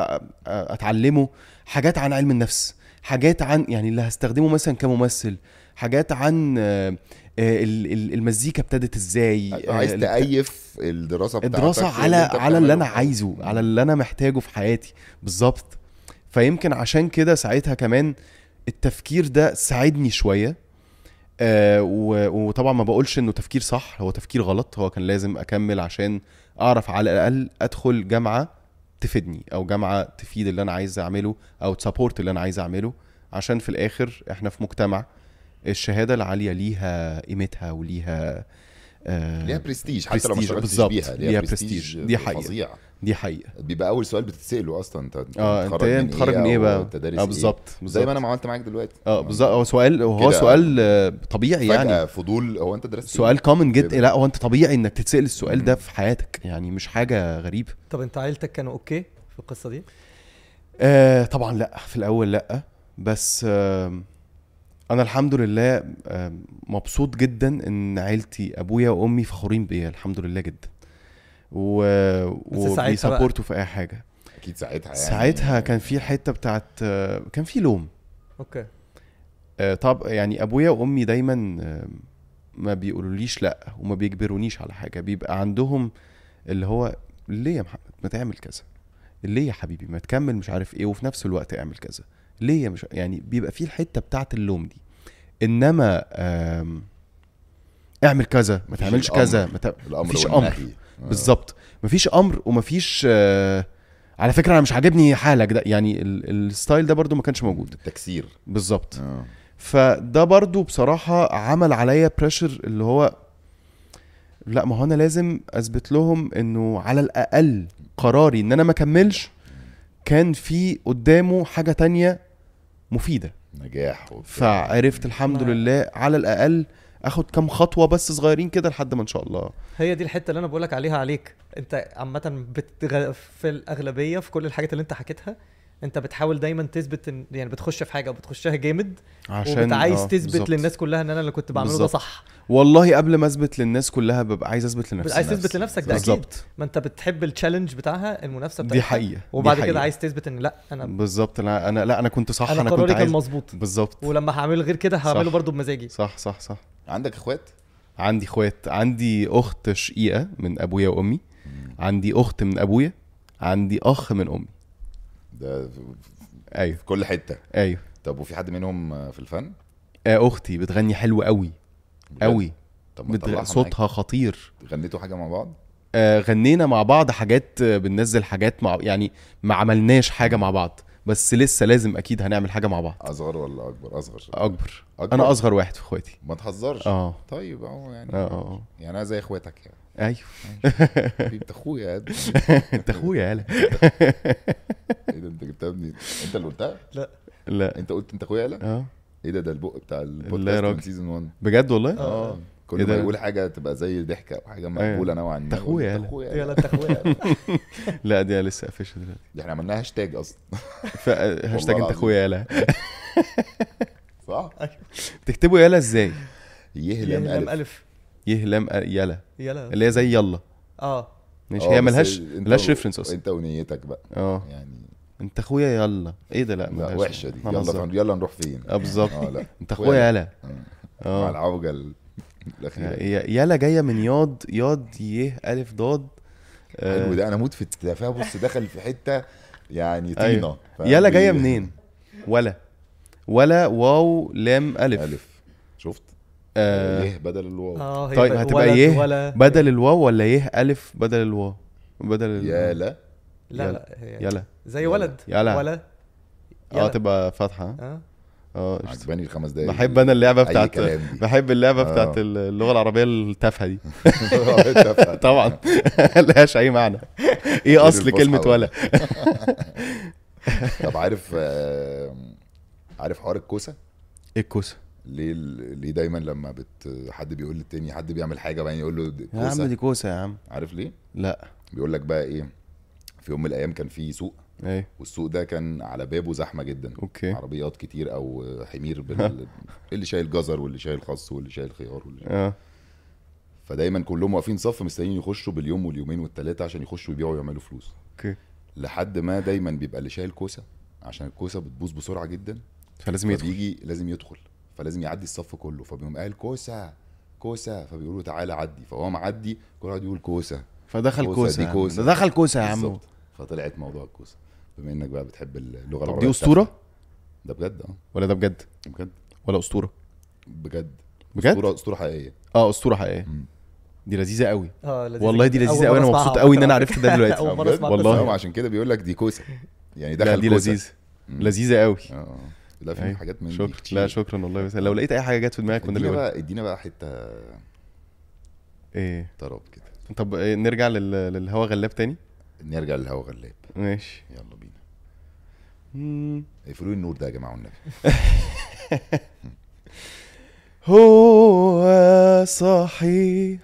S1: آه، اتعلمه حاجات عن علم النفس حاجات عن يعني اللي هستخدمه مثلا كممثل حاجات عن آه، آه، ال- ال- المزيكا ابتدت ازاي آه،
S2: عايز
S1: ال-
S2: تأيف الدراسه بتاعتك
S1: الدراسه
S2: في
S1: على
S2: انت
S1: على اللي انا
S2: بتعمله.
S1: عايزه على اللي انا محتاجه في حياتي بالظبط فيمكن عشان كده ساعتها كمان التفكير ده ساعدني شويه آه و- وطبعا ما بقولش انه تفكير صح هو تفكير غلط هو كان لازم اكمل عشان اعرف على الاقل ادخل جامعه تفيدني او جامعه تفيد اللي انا عايز اعمله او تسابورت اللي انا عايز اعمله عشان في الاخر احنا في مجتمع الشهاده العاليه ليها قيمتها وليها آه
S2: ليها برستيج حتى لو ما
S1: برستيج،
S2: اشتغلتش
S1: بالظبط.
S2: بيها ليها
S1: ليها
S2: برستيج
S1: برستيج، دي حقيقة.
S2: فظيع
S1: دي حقيقه
S2: بيبقى اول سؤال بتتساله اصلا انت
S1: اه انت ايه متخرج من ايه بقى؟
S2: انت دارس
S1: اه
S2: ايه
S1: بالظبط
S2: زي ما انا
S1: بالظبط
S2: ما عملت معاك دلوقتي
S1: اه بالظبط هو سؤال هو
S2: كده.
S1: سؤال آه، طبيعي
S2: فجأة
S1: يعني
S2: فضول هو انت درست إيه؟
S1: سؤال كومن جدا
S2: بيبقى.
S1: لا هو انت طبيعي انك تتسال السؤال ده في حياتك يعني مش حاجه غريبه
S4: طب انت عيلتك كانوا اوكي في القصه دي
S1: آه طبعا لا في الاول لا بس آه انا الحمد لله آه مبسوط جدا ان عيلتي ابويا وامي فخورين بيا الحمد لله جدا و...
S4: بس ساعتها بقى.
S1: وبيسابورتوا في اي حاجه
S2: اكيد ساعتها يعني
S1: ساعتها كان في حته بتاعت آه كان في لوم
S4: اوكي
S1: آه، طب يعني ابويا وامي دايما آه، ما بيقولوليش لا وما بيجبرونيش على حاجه بيبقى عندهم اللي هو ليه يا محمد ما تعمل كذا ليه يا حبيبي ما تكمل مش عارف ايه وفي نفس الوقت اعمل كذا ليه يا مش يعني بيبقى في الحته بتاعه اللوم دي انما آم، اعمل كذا ما
S2: مفيش
S1: تعملش
S2: الأمر.
S1: كذا ما تع...
S2: الامر
S1: مفيش
S2: والنهي.
S1: امر
S2: آه.
S1: بالظبط مفيش امر ومفيش آه، على فكره انا مش عاجبني حالك ده يعني ال- الستايل ده برضو ما كانش موجود
S2: تكسير
S1: بالظبط
S2: آه.
S1: فده برضو بصراحة عمل عليا بريشر اللي هو لا ما هو انا لازم اثبت لهم انه على الاقل قراري ان انا ما اكملش كان في قدامه حاجة تانية مفيدة
S2: نجاح وبتاع.
S1: فعرفت الحمد
S4: ما-
S1: لله على الاقل اخد كام خطوة بس صغيرين كده لحد ما ان شاء الله
S4: هي دي الحته اللي انا بقولك عليها عليك انت عامه بتغ... في الاغلبيه في كل الحاجات اللي انت حكيتها انت بتحاول دايما تثبت إن... يعني بتخش في حاجه وبتخشها جامد
S1: عشان
S4: وبتعايز
S1: آه،
S4: تثبت
S1: بالظبط.
S4: للناس كلها ان انا اللي كنت بعمله ده
S1: بالظبط.
S4: صح
S1: والله قبل ما اثبت للناس كلها ببقى عايز اثبت لنفسي
S4: عايز تثبت لنفسك ده اكيد
S1: بالظبط
S4: ما انت بتحب التشالنج بتاعها المنافسه بتاعتها
S1: دي حقيقة دي
S4: وبعد كده
S1: حقيقة.
S4: عايز تثبت ان لا انا
S1: بالظبط لا انا لا انا كنت صح
S4: انا
S1: انا,
S4: قراري
S1: كنت
S4: كان
S1: عايز
S4: مظبوط
S1: بالظبط
S4: ولما هعمله غير كده هعمله
S1: صح.
S4: برضو بمزاجي
S1: صح صح صح
S2: عندك اخوات
S1: عندي اخوات عندي اخت شقيقه من ابويا وامي عندي اخت من ابويا عندي اخ من امي
S2: ده في
S1: ايوه
S2: كل حته
S1: ايوه
S2: طب وفي حد منهم في الفن
S1: آه اختي بتغني حلو قوي قوي
S2: طب ما
S1: بتغ...
S2: طلعها
S1: صوتها خطير
S2: معاك. غنيتوا حاجه مع بعض
S1: آه غنينا مع بعض حاجات آه، بننزل حاجات مع يعني ما عملناش حاجه مع بعض بس لسه لازم اكيد هنعمل حاجه مع بعض
S2: اصغر ولا اكبر اصغر
S1: اكبر,
S2: أكبر؟
S1: انا اصغر واحد في اخواتي
S2: ما تهزرش
S1: اه
S2: طيب اهو يعني
S1: اه اه
S2: يعني انا زي اخواتك
S1: آه.
S2: يعني
S1: ايوه
S2: حبيبي، انت اخويا يا قد-
S1: انت اخويا يالا
S2: ايه ده انت جبتها منين انت اللي قلتها
S1: لا
S2: انت قلت انت اخويا يالا
S1: اه
S2: ايه ده ده البق بتاع
S1: لا يا
S2: البودكاست
S1: راجل.
S2: من سيزون 1
S1: بجد والله
S4: آه.
S2: اه
S1: إيه
S2: كل
S1: ده؟
S2: ما يقول حاجه تبقى زي ضحكه او حاجه مقبوله نوعا ما
S1: أنت أخويا
S2: يقول،
S1: يالا.
S2: أنت اخويا
S4: يلا
S2: يالا.
S4: انت اخويا
S1: لا دي لسه قافشه دلوقتي
S2: دي احنا عملناها هاشتاج اصلا
S1: ف- هاشتاج انت
S2: العظيم.
S1: اخويا يالا
S2: صح
S1: تكتبوا يالا ازاي؟
S2: يهلم الف
S4: يهلم الف
S1: يهلم أ- يلا
S4: يلا
S1: اللي هي زي يلا
S4: اه
S1: ماشي
S2: آه،
S1: هي
S2: بس
S1: ملهاش
S2: أنت
S1: ملهاش
S2: و-
S1: ريفرنس اصلا
S2: انت ونيتك بقى
S1: اه
S2: يعني
S1: انت اخويا يلا ايه ده لا
S2: لا
S1: ملهاش.
S2: وحشه دي يلا
S1: هنظر.
S2: فن- يلا نروح فين
S1: اه بالظبط
S2: اه لا
S1: انت يعني. اخويا يلا
S2: مع
S1: اه
S2: العوجه ال- الاخيره
S1: هي يلا جايه من ياض ياض يه الف ضاد آه،
S2: حلو ده انا اموت في التفاهه بص دخل في حته يعني
S1: أيوة.
S2: طينه فاهم؟
S1: يلا جايه
S2: بي-
S1: منين ولا ولا واو لام الف,
S2: الف شفت
S1: آه
S2: ايه بدل الواو
S4: اه هي
S1: طيب
S4: بقى
S1: هتبقى
S4: ولد
S1: يه
S4: ولا
S1: بدل الواو ولا يه الف بدل الواو بدل ال-
S2: يا لا
S4: لا
S1: يلا.
S4: لا هي
S1: يلا
S4: زي ولد
S1: يلا.
S4: ولا
S1: اه
S4: يلا.
S1: تبقى فاتحه
S4: اه
S1: اه قشطة.
S2: عجباني الخمس دقايق
S1: بحب انا اللعبه
S2: أي
S1: بتاعت
S2: كلام دي.
S1: بحب اللعبه
S2: آه.
S1: بتاعت اللغه العربيه التافهه دي
S2: اتفق.
S1: طبعا ملهاش اي معنى ايه اصل
S2: الفصحى
S1: كلمه
S2: ولا-
S1: ولا
S2: طب عارف آه، عارف حوار الكوسه
S1: ايه الكوسه
S2: ليه ليه دايما لما بت حد بيقول للتاني حد بيعمل حاجه بعدين يقول له دي
S1: يا عم
S2: كوسه
S1: دي كوسه يا عم
S2: عارف ليه
S1: لا
S2: بيقول لك بقى ايه في يوم من الايام كان في سوق
S1: ايه
S2: والسوق ده كان على بابه زحمه جدا
S1: اوكي
S2: عربيات كتير او حمير بال... اللي شايل جزر واللي شايل خس واللي شايل خيار واللي شايل...
S1: اه
S2: فدايما كلهم واقفين صف مستنيين يخشوا باليوم واليومين والثلاثه عشان يخشوا يبيعوا ويعملوا فلوس
S1: اوكي
S2: لحد ما دايما بيبقى اللي شايل كوسه عشان الكوسه بتبوظ بسرعه جدا
S1: فلازم يدخل
S2: فبيجي لازم يدخل فلازم يعدي الصف كله فبيقوم قال كوسه كوسه فبيقولوا تعالى عدي فهو معدي كل واحد يقول كوسه
S1: فدخل
S2: كوسة
S1: كوسه
S2: دي
S1: يا عم.
S2: كوسة.
S1: ده دخل كوسه يا عم
S2: بالظبط فطلعت موضوع الكوسه بما انك بقى بتحب اللغه
S1: طب
S2: العربيه
S1: دي اسطوره
S2: التافهة. ده بجد اه
S1: ولا ده بجد
S2: بجد
S1: ولا اسطوره
S2: بجد
S1: بجد
S2: اسطوره اسطوره حقيقيه
S1: اه اسطوره حقيقيه
S2: مم. يعني
S1: دي لذيذه قوي
S4: اه لذيذة
S1: والله دي
S4: جدا.
S1: لذيذه
S4: أول
S1: قوي انا
S4: مرة
S1: مبسوط
S4: أسمعها
S1: قوي
S4: على
S1: ان انا
S4: فكرة.
S1: عرفتها دلوقتي
S4: اول مره
S2: آه، بجد؟
S4: اسمع
S1: والله.
S2: فهو عشان كده بيقول لك دي كوسه يعني دخل
S1: لا دي
S2: كوسة.
S1: لذيذه
S2: مم.
S1: لذيذه قوي
S2: اه آه. لا في
S1: أيوة.
S2: حاجات من دي
S1: شكرا
S2: كتير.
S1: لا شكرا والله بس لو لقيت اي حاجه جت في دماغك كنا اللي
S2: ادينا
S1: قلنا
S2: بقى ادينا بقى حته
S1: ايه
S2: طراب كده
S1: طب إيه، نرجع لل... للهوا غلاب تاني
S2: نرجع للهوا غلاب
S1: ماشي
S2: يلا بينا
S1: مم.
S2: اقفلوا لي النور ده يا جماعه والنبي
S1: هو صحيح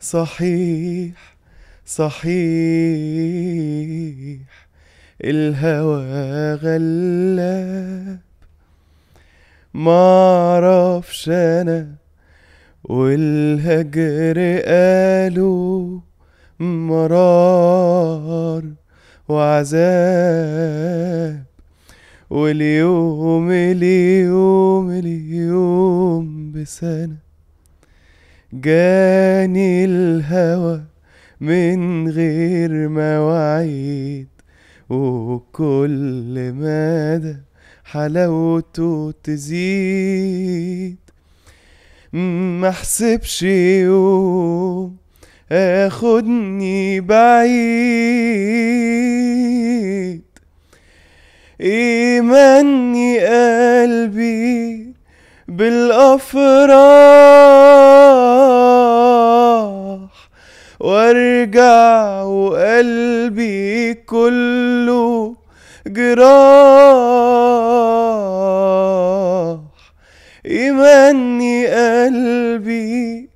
S1: صحيح صحيح الهوى غلاب معرفش انا والهجر قالوا مرار وعذاب واليوم اليوم اليوم بسنة جاني الهوى من غير مواعيد وكل مدى حلاوته تزيد ما احسبش يوم اخدني بعيد إيماني قلبي بالأفراح وارجع وقلبي كله جراح إيماني قلبي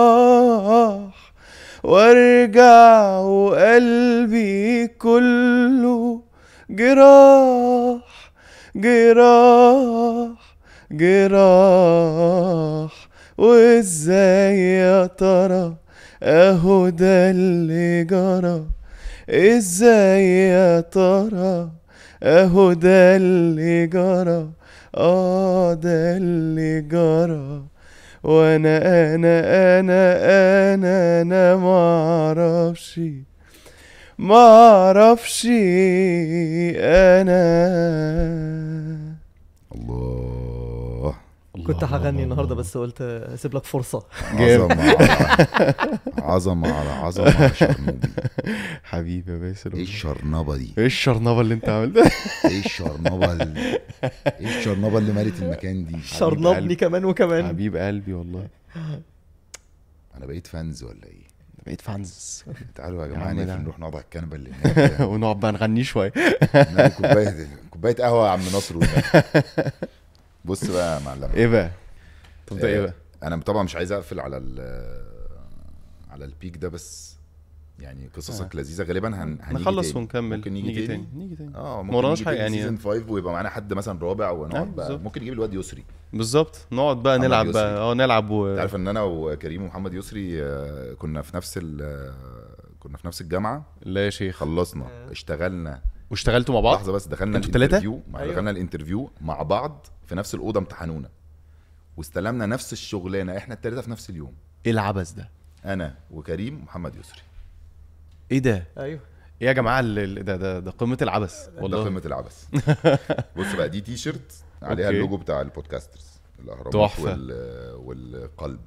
S1: بالأفراح وارجع وقلبي كله جراح جراح جراح وازاي يا ترى اهو ده اللي جرى ازاي يا ترى اهو ده اللي جرى اه ده اللي جرى وانا انا انا انا انا معرفش معرفش انا
S2: الله
S4: كنت هغني النهارده بس قلت اسيب لك فرصه
S2: عظمه على عظمه على عظمه على شرنوبي
S1: حبيبي يا باسل
S2: ايه الشرنبه دي
S1: ايه الشرنبه اللي انت عملتها
S2: ايه الشرنبه اللي... ايه الشرنبه اللي مالت المكان دي
S4: شرنبني
S1: قلبي.
S4: كمان وكمان
S1: حبيب قلبي والله
S2: انا بقيت فانز ولا ايه
S1: بقيت فانز
S2: تعالوا يا
S1: يا
S2: جماعه
S1: عم لا.
S2: نقفل نروح نقعد على الكنبه اللي هناك
S1: ونقعد بقى نغني شويه
S2: نعمل كوبايه كوبايه قهوه يا عم نصر والنبي. بص بقى يا معلم
S1: ايه بقى طب ده ايه بقى
S2: انا طبعا مش عايز اقفل على ال على البيك ده بس يعني قصصك لذيذه غالبا هن... هنيجي
S1: نخلص
S2: تاني.
S1: ونكمل
S2: ممكن نيجي, تاني,
S1: نيجي تاني آه. ما
S2: اه ممكن
S1: وراناش
S2: نيجي
S1: حاجة
S2: تاني
S1: يعني.
S2: سيزون 5 ويبقى معانا حد مثلا رابع
S1: أيوة
S2: ونقعد بقى
S1: بالظبط.
S2: ممكن نجيب الواد يسري
S1: بالظبط نقعد بقى نلعب
S2: يسري.
S1: بقى اه نلعب و...
S2: انت عارف ان انا وكريم ومحمد يسري آه، كنا في نفس ال آه، كنا في نفس الجامعه
S1: لا يا شيخ
S2: خلصنا اشتغلنا
S1: واشتغلتوا مع بعض
S2: لحظه بس دخلنا
S1: انتوا التلاتة؟
S2: الانترفيو مع
S4: أيوة.
S2: دخلنا الانترفيو مع بعض في نفس الاوضه امتحنونا واستلمنا نفس الشغلانه احنا الثلاثه في نفس اليوم
S1: ايه العبث ده
S2: انا وكريم ومحمد يسري
S1: ايه ده
S4: ايوه
S1: ايه يا جماعه ال- ال- ده ده, ده قمه العبث
S2: والله
S1: والله
S2: قمه العبث بص بقى دي تي شيرت عليها
S1: أوكي.
S2: اللوجو بتاع البودكاسترز الاهرامات
S1: تحفة.
S2: وال... آه، والقلب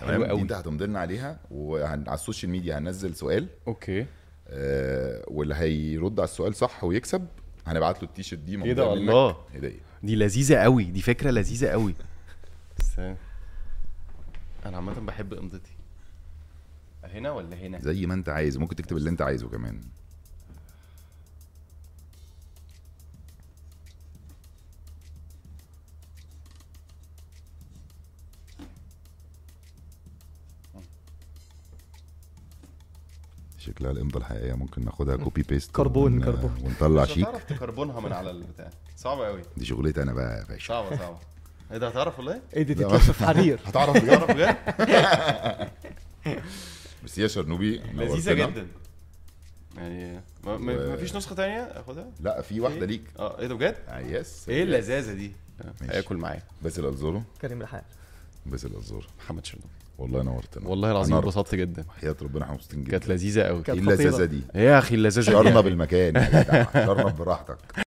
S1: حلو
S2: تمام دي
S1: قوي.
S2: انت هتمضلنا عليها وعلى السوشيال ميديا هننزل سؤال
S1: اوكي
S2: آه، واللي هيرد على السؤال صح ويكسب هنبعت له التيشيرت دي
S1: ايه ده
S2: ممضية منك
S1: الله
S2: هديه
S1: دي لذيذه قوي دي فكره لذيذه قوي بس انا عامه بحب امضتي هنا ولا هنا
S2: زي ما انت عايز ممكن تكتب اللي انت عايزه كمان شكلها الامضه الحقيقيه ممكن ناخدها كوبي بيست
S4: كربون-
S2: ون...
S4: كربون.
S2: ونطلع
S1: مش
S2: شيك
S1: هتعرف تكربونها من على البتاع صعبه قوي
S2: دي شغلتي انا بقى يا باشا
S1: صعبه صعبه ايه ده هتعرف والله
S4: ايه دي
S2: لا.
S4: تتلف في حرير
S2: هتعرف
S1: هتعرف بجد
S2: بس هي شرنوبي
S1: لذيذه
S2: نورتنا.
S1: جدا يعني ما ما-
S2: و-
S1: مفيش نسخه تانية اخدها
S2: لا في واحده ليك
S1: اه ايه ده بجد
S2: آه، يس
S1: ايه اللذاذه دي
S2: ماشي.
S1: هاكل معايا
S2: باسل الزورو
S4: كريم الحال
S2: باسل الزورو
S1: محمد شرنوبي
S2: والله نورتنا
S1: والله العظيم
S2: أنا-
S1: اتبسطت جدا
S2: حياة ربنا احنا مبسوطين جدا
S1: كانت لذيذه قوي
S4: كانت
S2: ايه
S4: خطيرة.
S2: اللذاذه دي
S1: يا اخي اللذاذه دي
S2: شرنا بالمكان يا جدع شرنا براحتك